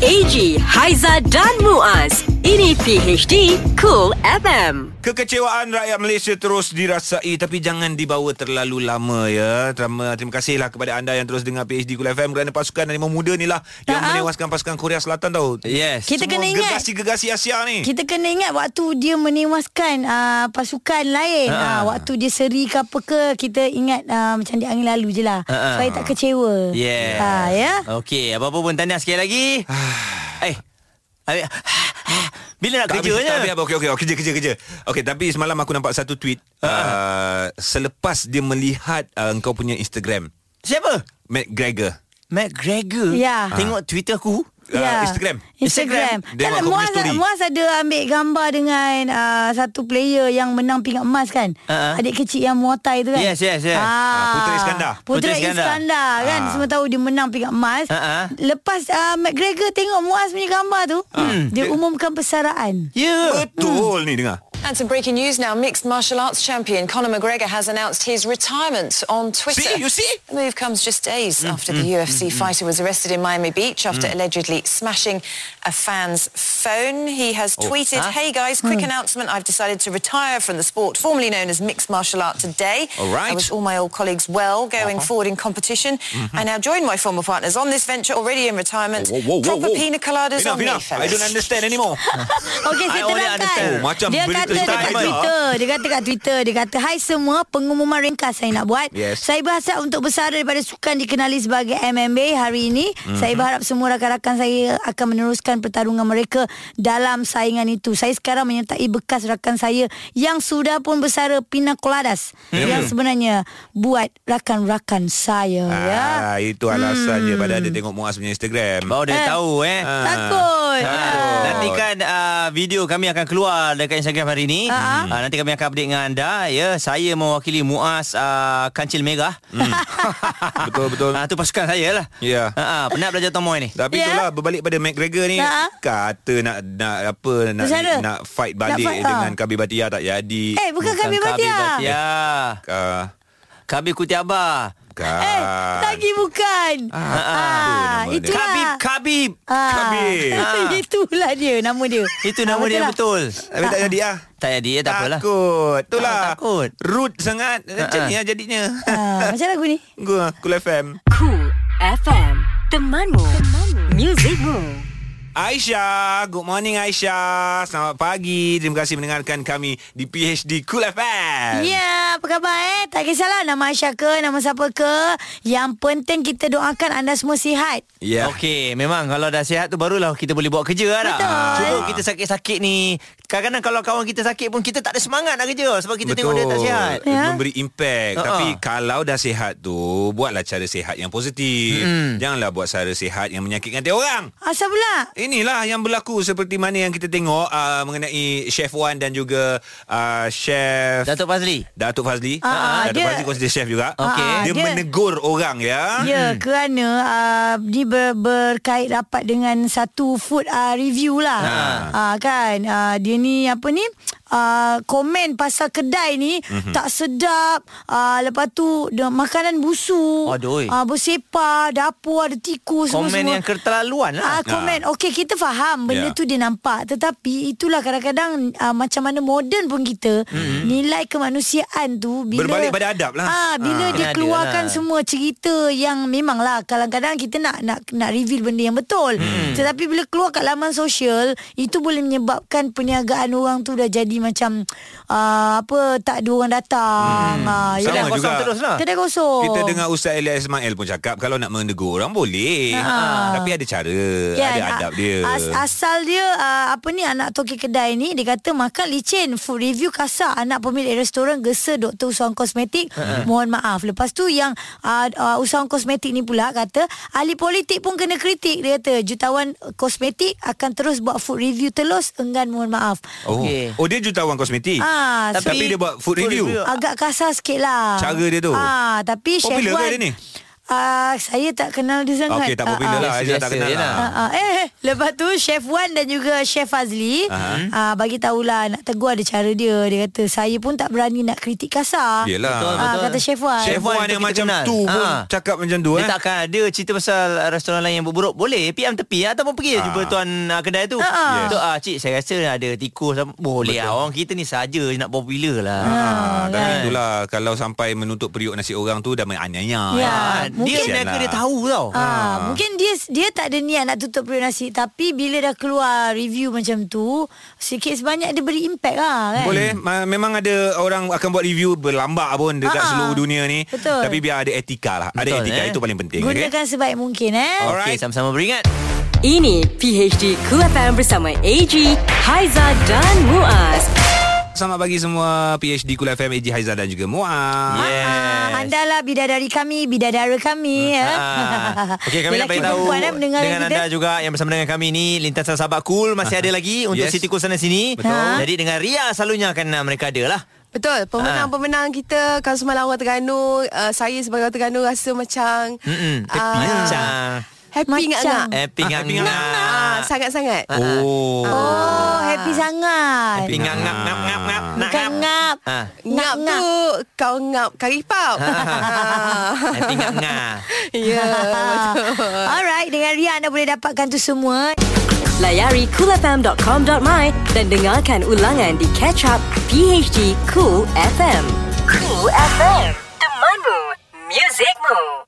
Speaker 4: AG, Haiza dan Muaz. Ini PHD Cool FM.
Speaker 1: Kekecewaan rakyat Malaysia terus dirasai tapi jangan dibawa terlalu lama ya. Terima, terima kasihlah kepada anda yang terus dengar PhD Kul FM kerana pasukan Harimau Muda ni lah yang menewaskan pasukan Korea Selatan tau. Yes.
Speaker 3: ah. Kita
Speaker 1: Semua
Speaker 3: kena ingat.
Speaker 1: gegasi-gegasi
Speaker 2: ah,
Speaker 1: Asia ni.
Speaker 3: Kita kena ingat waktu dia menewaskan uh, pasukan lain.
Speaker 2: Ha.
Speaker 3: Ha. Uh, waktu dia seri ke apa ke, kita ingat uh, macam di angin lalu je lah.
Speaker 2: Ha, ha.
Speaker 3: Supaya tak kecewa.
Speaker 2: Yes.
Speaker 3: Ha, ya?
Speaker 2: Okey, apa-apa pun tahniah sekali
Speaker 1: [SIGHS]
Speaker 2: lagi. eh. habis- Bila nak
Speaker 1: Tak habis,
Speaker 2: kerjanya?
Speaker 1: tak habis, okey, okey, okey, kerja, kerja, kerja. Okey, tapi semalam aku nampak satu tweet. Uh, selepas dia melihat uh, kau punya Instagram.
Speaker 2: Siapa?
Speaker 1: Matt Gregor.
Speaker 2: Matt Gregor.
Speaker 3: Ya.
Speaker 2: Tengok Twitter aku.
Speaker 1: Uh,
Speaker 2: Ah,
Speaker 1: Ah. Instagram.
Speaker 3: Instagram.
Speaker 1: Dia
Speaker 3: Tak,
Speaker 1: buat kau punya
Speaker 3: Muaz,
Speaker 1: story.
Speaker 3: Muaz ada ambil gambar dengan uh, satu player yang menang pingat emas kan?
Speaker 2: Ha, ha.
Speaker 3: Adik kecil yang Muay Thai tu kan?
Speaker 2: Yes, yes, yes. Ah, Putera Iskandar.
Speaker 3: Putera
Speaker 2: Putera Iskandar.
Speaker 3: Iskandar, kan?
Speaker 2: Ah.
Speaker 3: Semua tahu dia menang pingat emas.
Speaker 2: Ha, ha.
Speaker 3: Lepas uh, McGregor tengok Muaz punya gambar tu, dia umumkan persaraan.
Speaker 2: Yeah.
Speaker 1: Betul ni dengar.
Speaker 14: And some breaking news now. Mixed martial arts champion Conor McGregor has announced his retirement on Twitter.
Speaker 15: See? You see?
Speaker 14: The move comes just days after the
Speaker 15: mm,
Speaker 14: UFC fighter was arrested in Miami Beach after
Speaker 15: Mm.
Speaker 14: allegedly smashing a fan's phone. He has
Speaker 15: Oh.
Speaker 14: tweeted,
Speaker 15: Huh?
Speaker 14: hey guys, quick
Speaker 3: Hmm.
Speaker 15: Mm.
Speaker 14: announcement. I've decided to retire from the sport formerly known as mixed martial art today.
Speaker 15: All
Speaker 14: I
Speaker 15: right.
Speaker 14: wish all my old colleagues well going forward
Speaker 15: Uh-huh.
Speaker 14: in competition.
Speaker 15: Mhm.
Speaker 14: I now join my former partners on this venture already in retirement.
Speaker 1: Whoa, whoa, whoa,
Speaker 14: Proper
Speaker 1: whoa.
Speaker 14: pina coladas
Speaker 1: Enough,
Speaker 14: on me,
Speaker 1: enough. I
Speaker 14: fellas.
Speaker 1: don't understand anymore.
Speaker 3: Okey, saya
Speaker 1: I only
Speaker 3: terangkan.
Speaker 1: understand. Oh, macam
Speaker 3: Kan? dia
Speaker 1: berita
Speaker 3: kata dekat
Speaker 1: retirement.
Speaker 3: Twitter, dia kata kat Twitter, dia kata, "Hai semua, pengumuman ringkas saya nak buat.
Speaker 15: Yes.
Speaker 3: Saya berhasrat untuk bersara daripada sukan dikenali sebagai MMA hari ini. Saya berharap semua rakan-rakan saya akan meneruskan pertarungan mereka dalam saingan itu. Saya sekarang menyertai bekas rakan saya yang sudah pun bersara Pina Coladas
Speaker 1: Ya.
Speaker 3: yang sebenarnya buat rakan-rakan saya ya.
Speaker 1: Ah, itu alasannya hmm. pada ada tengok Muaz punya Instagram.
Speaker 2: Baru dia tahu eh.
Speaker 3: Takut.
Speaker 2: Ah. Nanti kan uh, video kami akan keluar dekat Instagram hari ini. Uh-huh.
Speaker 3: Ah.
Speaker 2: Uh, nanti kami akan update dengan anda ya. Saya mewakili Muaz uh, Kancil Merah.
Speaker 1: Hmm. [LAUGHS] betul betul.
Speaker 2: Ah uh, tu pasukan saya lah.
Speaker 1: Ya.
Speaker 2: Ha ah, penat belajar tomoy ni.
Speaker 1: Tapi
Speaker 2: Ya.
Speaker 1: itulah berbalik pada McGregor ni
Speaker 3: Ha.
Speaker 1: kata nak nak apa nak
Speaker 3: Bersara.
Speaker 1: nak fight
Speaker 3: Nak
Speaker 1: balik
Speaker 3: fight, ha.
Speaker 1: dengan Khabib Batia tak jadi. Eh,
Speaker 3: Eh, bukan Khabib Batia.
Speaker 2: Ya.
Speaker 1: Uh,
Speaker 2: Khabib Kutiaba.
Speaker 1: Eh,
Speaker 3: Lagi bukan. Ah,
Speaker 2: nama dia.
Speaker 3: itulah.
Speaker 2: Khabib,
Speaker 3: Ah. [LAUGHS]
Speaker 2: Khabib. Ah.
Speaker 3: Itulah dia nama dia. Ah,
Speaker 2: Itu nama
Speaker 3: lah.
Speaker 2: dia yang betul.
Speaker 1: Tapi tak jadi lah.
Speaker 2: Tak jadi ya tak apalah.
Speaker 1: Takut. Itulah.
Speaker 2: Takut.
Speaker 1: Rude sangat. Macam
Speaker 2: Ha, ha.
Speaker 1: ni lah jadinya.
Speaker 3: Ah, macam lagu ni.
Speaker 1: Gua Cool FM.
Speaker 4: Cool FM. Temanmu. Temanmu. Musicmu.
Speaker 1: Aisyah, good morning Aisyah. Selamat pagi. Terima kasih mendengarkan kami di PHD Cool FM.
Speaker 3: Ya, apa khabar eh? Tak kisahlah nama Aisyah ke, nama siapa ke. Yang penting kita doakan anda semua sihat.
Speaker 1: Yeah.
Speaker 2: Okey, memang kalau dah sihat tu barulah kita boleh buat kerja lah tak?
Speaker 3: Betul.
Speaker 2: Cuba kita sakit-sakit ni. Kadang-kadang kalau kawan kita sakit pun kita tak ada semangat nak kerja sebab kita tengok dia tak sihat. Ya.
Speaker 3: Eh,
Speaker 1: Memberi impact.
Speaker 2: Ha-ha.
Speaker 1: Tapi kalau dah sihat tu, buatlah cara sihat yang positif.
Speaker 2: Mm-mm.
Speaker 1: Janganlah buat cara sihat yang menyakitkan hati orang.
Speaker 3: Asal pula?
Speaker 1: Inilah yang berlaku seperti mana yang kita tengok uh, mengenai Chef Wan dan juga uh, Chef
Speaker 2: Datuk Fazli.
Speaker 1: Datuk Fazli.
Speaker 3: Ah, ah,
Speaker 1: Datuk
Speaker 3: dia-
Speaker 1: Fazli consider chef juga.
Speaker 3: Okey. Ah, ah,
Speaker 1: Dia,
Speaker 3: dia-
Speaker 1: menegur orang ya.
Speaker 2: Hmm.
Speaker 3: Ya, kerana uh, dia ber, berkait rapat dengan satu food uh, review lah.
Speaker 1: Ha.
Speaker 3: Uh, kan, uh, dia ni apa ni, uh, komen pasal kedai ni
Speaker 15: Mhm.
Speaker 3: mm-hmm. tak sedap. Uh, lepas tu, dia, makanan busuk.
Speaker 2: Aduh.
Speaker 3: Uh, bersepah, dapur ada tikus.
Speaker 2: Komen
Speaker 3: semua-semua.
Speaker 2: yang keterlaluan lah.
Speaker 3: Ah, komen. Okey, kita faham benda
Speaker 2: Ya.
Speaker 3: yeah. tu dia nampak. Tetapi itulah kadang-kadang uh, macam mana moden pun kita,
Speaker 1: Mhm.
Speaker 3: mm-hmm. nilai kemanusiaan tu bila
Speaker 1: Berbalik pada adab lah.
Speaker 3: Ah, bila
Speaker 1: Ah.
Speaker 3: dia
Speaker 1: Kena ada
Speaker 3: keluarkan
Speaker 1: lah.
Speaker 3: semua cerita yang memanglah kadang-kadang kita nak nak nak reveal benda yang betul.
Speaker 15: Hmm.
Speaker 1: Mm-hmm.
Speaker 3: Tetapi bila keluar kat laman sosial, itu boleh menyebabkan perniagaan orang tu dah jadi macam uh, apa tak ada orang datang. Hmm. Uh,
Speaker 1: Mm-hmm. Sama juga
Speaker 3: Kedai kosong.
Speaker 1: Kita dengar Ustaz Elias Ismail pun cakap Kalau nak menegur orang boleh Ah,
Speaker 3: Ha.
Speaker 1: Tapi ada cara
Speaker 3: Kan,
Speaker 1: Ada adab dia
Speaker 3: As, asal dia uh, apa ni anak toki kedai ni dia kata makan licin food review kasar anak pemilik restoran gesa doktor usahawan kosmetik
Speaker 15: Ha-ha.
Speaker 3: mohon maaf lepas tu yang uh, uh, usahawan kosmetik ni pula kata ahli politik pun kena kritik dia kata jutawan kosmetik akan terus buat food review telus enggan mohon maaf
Speaker 1: Oh. oh dia jutawan kosmetik
Speaker 3: Ah,
Speaker 1: tapi, tapi dia buat food, review,
Speaker 3: Agak kasar sikit lah
Speaker 1: Cara dia tu
Speaker 3: ah, Tapi
Speaker 1: Popular
Speaker 3: Chef
Speaker 1: ke
Speaker 3: Wan
Speaker 1: dia ni?
Speaker 3: Ah, saya tak kenal dia sangat
Speaker 1: Okey, tak
Speaker 3: Ah,
Speaker 1: popular lah.
Speaker 3: ah.
Speaker 1: Aizah tak kenal
Speaker 3: Biasa je
Speaker 1: lah.
Speaker 3: Ah, ah. Eh Lepas tu Chef Wan dan juga Chef Fazli
Speaker 1: Ah.
Speaker 3: ah, Bagi tahulah Nak tegur ada cara dia Dia kata Saya pun tak berani nak kritik kasar
Speaker 1: Yelah.
Speaker 3: Ah, Kata Chef Wan Ah.
Speaker 1: Chef Wan yang macam tu pun cakap macam tu
Speaker 2: Dia
Speaker 1: eh.
Speaker 2: takkan ada cerita pasal restoran lain yang buruk Boleh PM tepi ah, Ataupun pergi
Speaker 1: Ah.
Speaker 2: ah. jumpa tuan ah, kedai tu
Speaker 1: Ah. Yes.
Speaker 2: so, ah, Cik saya rasa ada tikus sama- Boleh lah Orang kita ni saja je nak popular lah
Speaker 1: Ah, tapi
Speaker 3: kan?
Speaker 1: itulah kalau sampai menutup periuk nasi orang tu dah lah. menganiaya.
Speaker 3: Ya,
Speaker 2: Ah,
Speaker 3: mungkin-
Speaker 1: Dia sebenarnya
Speaker 3: Dia
Speaker 2: tahu tau.
Speaker 3: Ah, mungkin dia dia tak ada niat nak tutup periuk nasi tapi bila dah keluar review macam tu sikit sebanyak dia beri impact lah kan.
Speaker 1: Boleh Ma- Memang ada orang akan buat review Berlambak pun Dekat
Speaker 3: Ha-ha.
Speaker 1: seluruh dunia ni
Speaker 3: Ah, Betul.
Speaker 1: Tapi biar ada etika lah Ada
Speaker 2: Betul,
Speaker 1: etika
Speaker 2: eh.
Speaker 1: Itu paling penting okay?
Speaker 3: Gunakan sebaik mungkin eh.
Speaker 1: Alright.
Speaker 2: sama-sama beringat
Speaker 4: Ini PHD Cool FM bersama AG, Haiza dan Muaz.
Speaker 1: Selamat pagi semua PhD Kul FM AJ Haizal dan juga Muaz
Speaker 3: Ah, anda lah bidadari kami, bidadara kami ya.
Speaker 2: Hmm.
Speaker 3: [LAUGHS]
Speaker 2: Ah. Okey kami nak
Speaker 3: Lelaki
Speaker 2: bagi tahu
Speaker 3: perempuan, eh,
Speaker 2: dengan
Speaker 3: pendengar kita.
Speaker 2: [LAUGHS] anda juga yang bersama dengan kami ni lintasan sahabat cool masih ada lagi untuk
Speaker 1: Yes.
Speaker 2: Siti Cool sana sini. Ah.
Speaker 15: Betul. Ha.
Speaker 2: Jadi dengan Ria selalunya akan ah, mereka ada lah.
Speaker 15: Betul, pemenang-pemenang kita kalau semalam orang Terengganu, uh, saya sebagai orang Terengganu rasa macam
Speaker 2: Mm-mm.
Speaker 15: Ah.
Speaker 2: Macam
Speaker 15: happy ngak-ngak.
Speaker 2: Happy ngak ngak.
Speaker 15: Ah, sangat-sangat. Ah.
Speaker 1: Oh.
Speaker 3: Oh, happy sangat.
Speaker 2: Happy ngak ngak ngak ngak ngak.
Speaker 3: Bukan ngap.
Speaker 2: Ah.
Speaker 15: Ngap tu kau ngap karipap.
Speaker 2: Ah.
Speaker 15: [LAUGHS]
Speaker 2: Happy ngak ngak.
Speaker 15: Ya,
Speaker 3: betul. [LAUGHS] Alright, dengan Ria anda boleh dapatkan tu semua.
Speaker 4: Layari coolfm.com.my dan dengarkan ulangan di Catch Up PHD Cool FM. Cool FM, temanmu, muzikmu.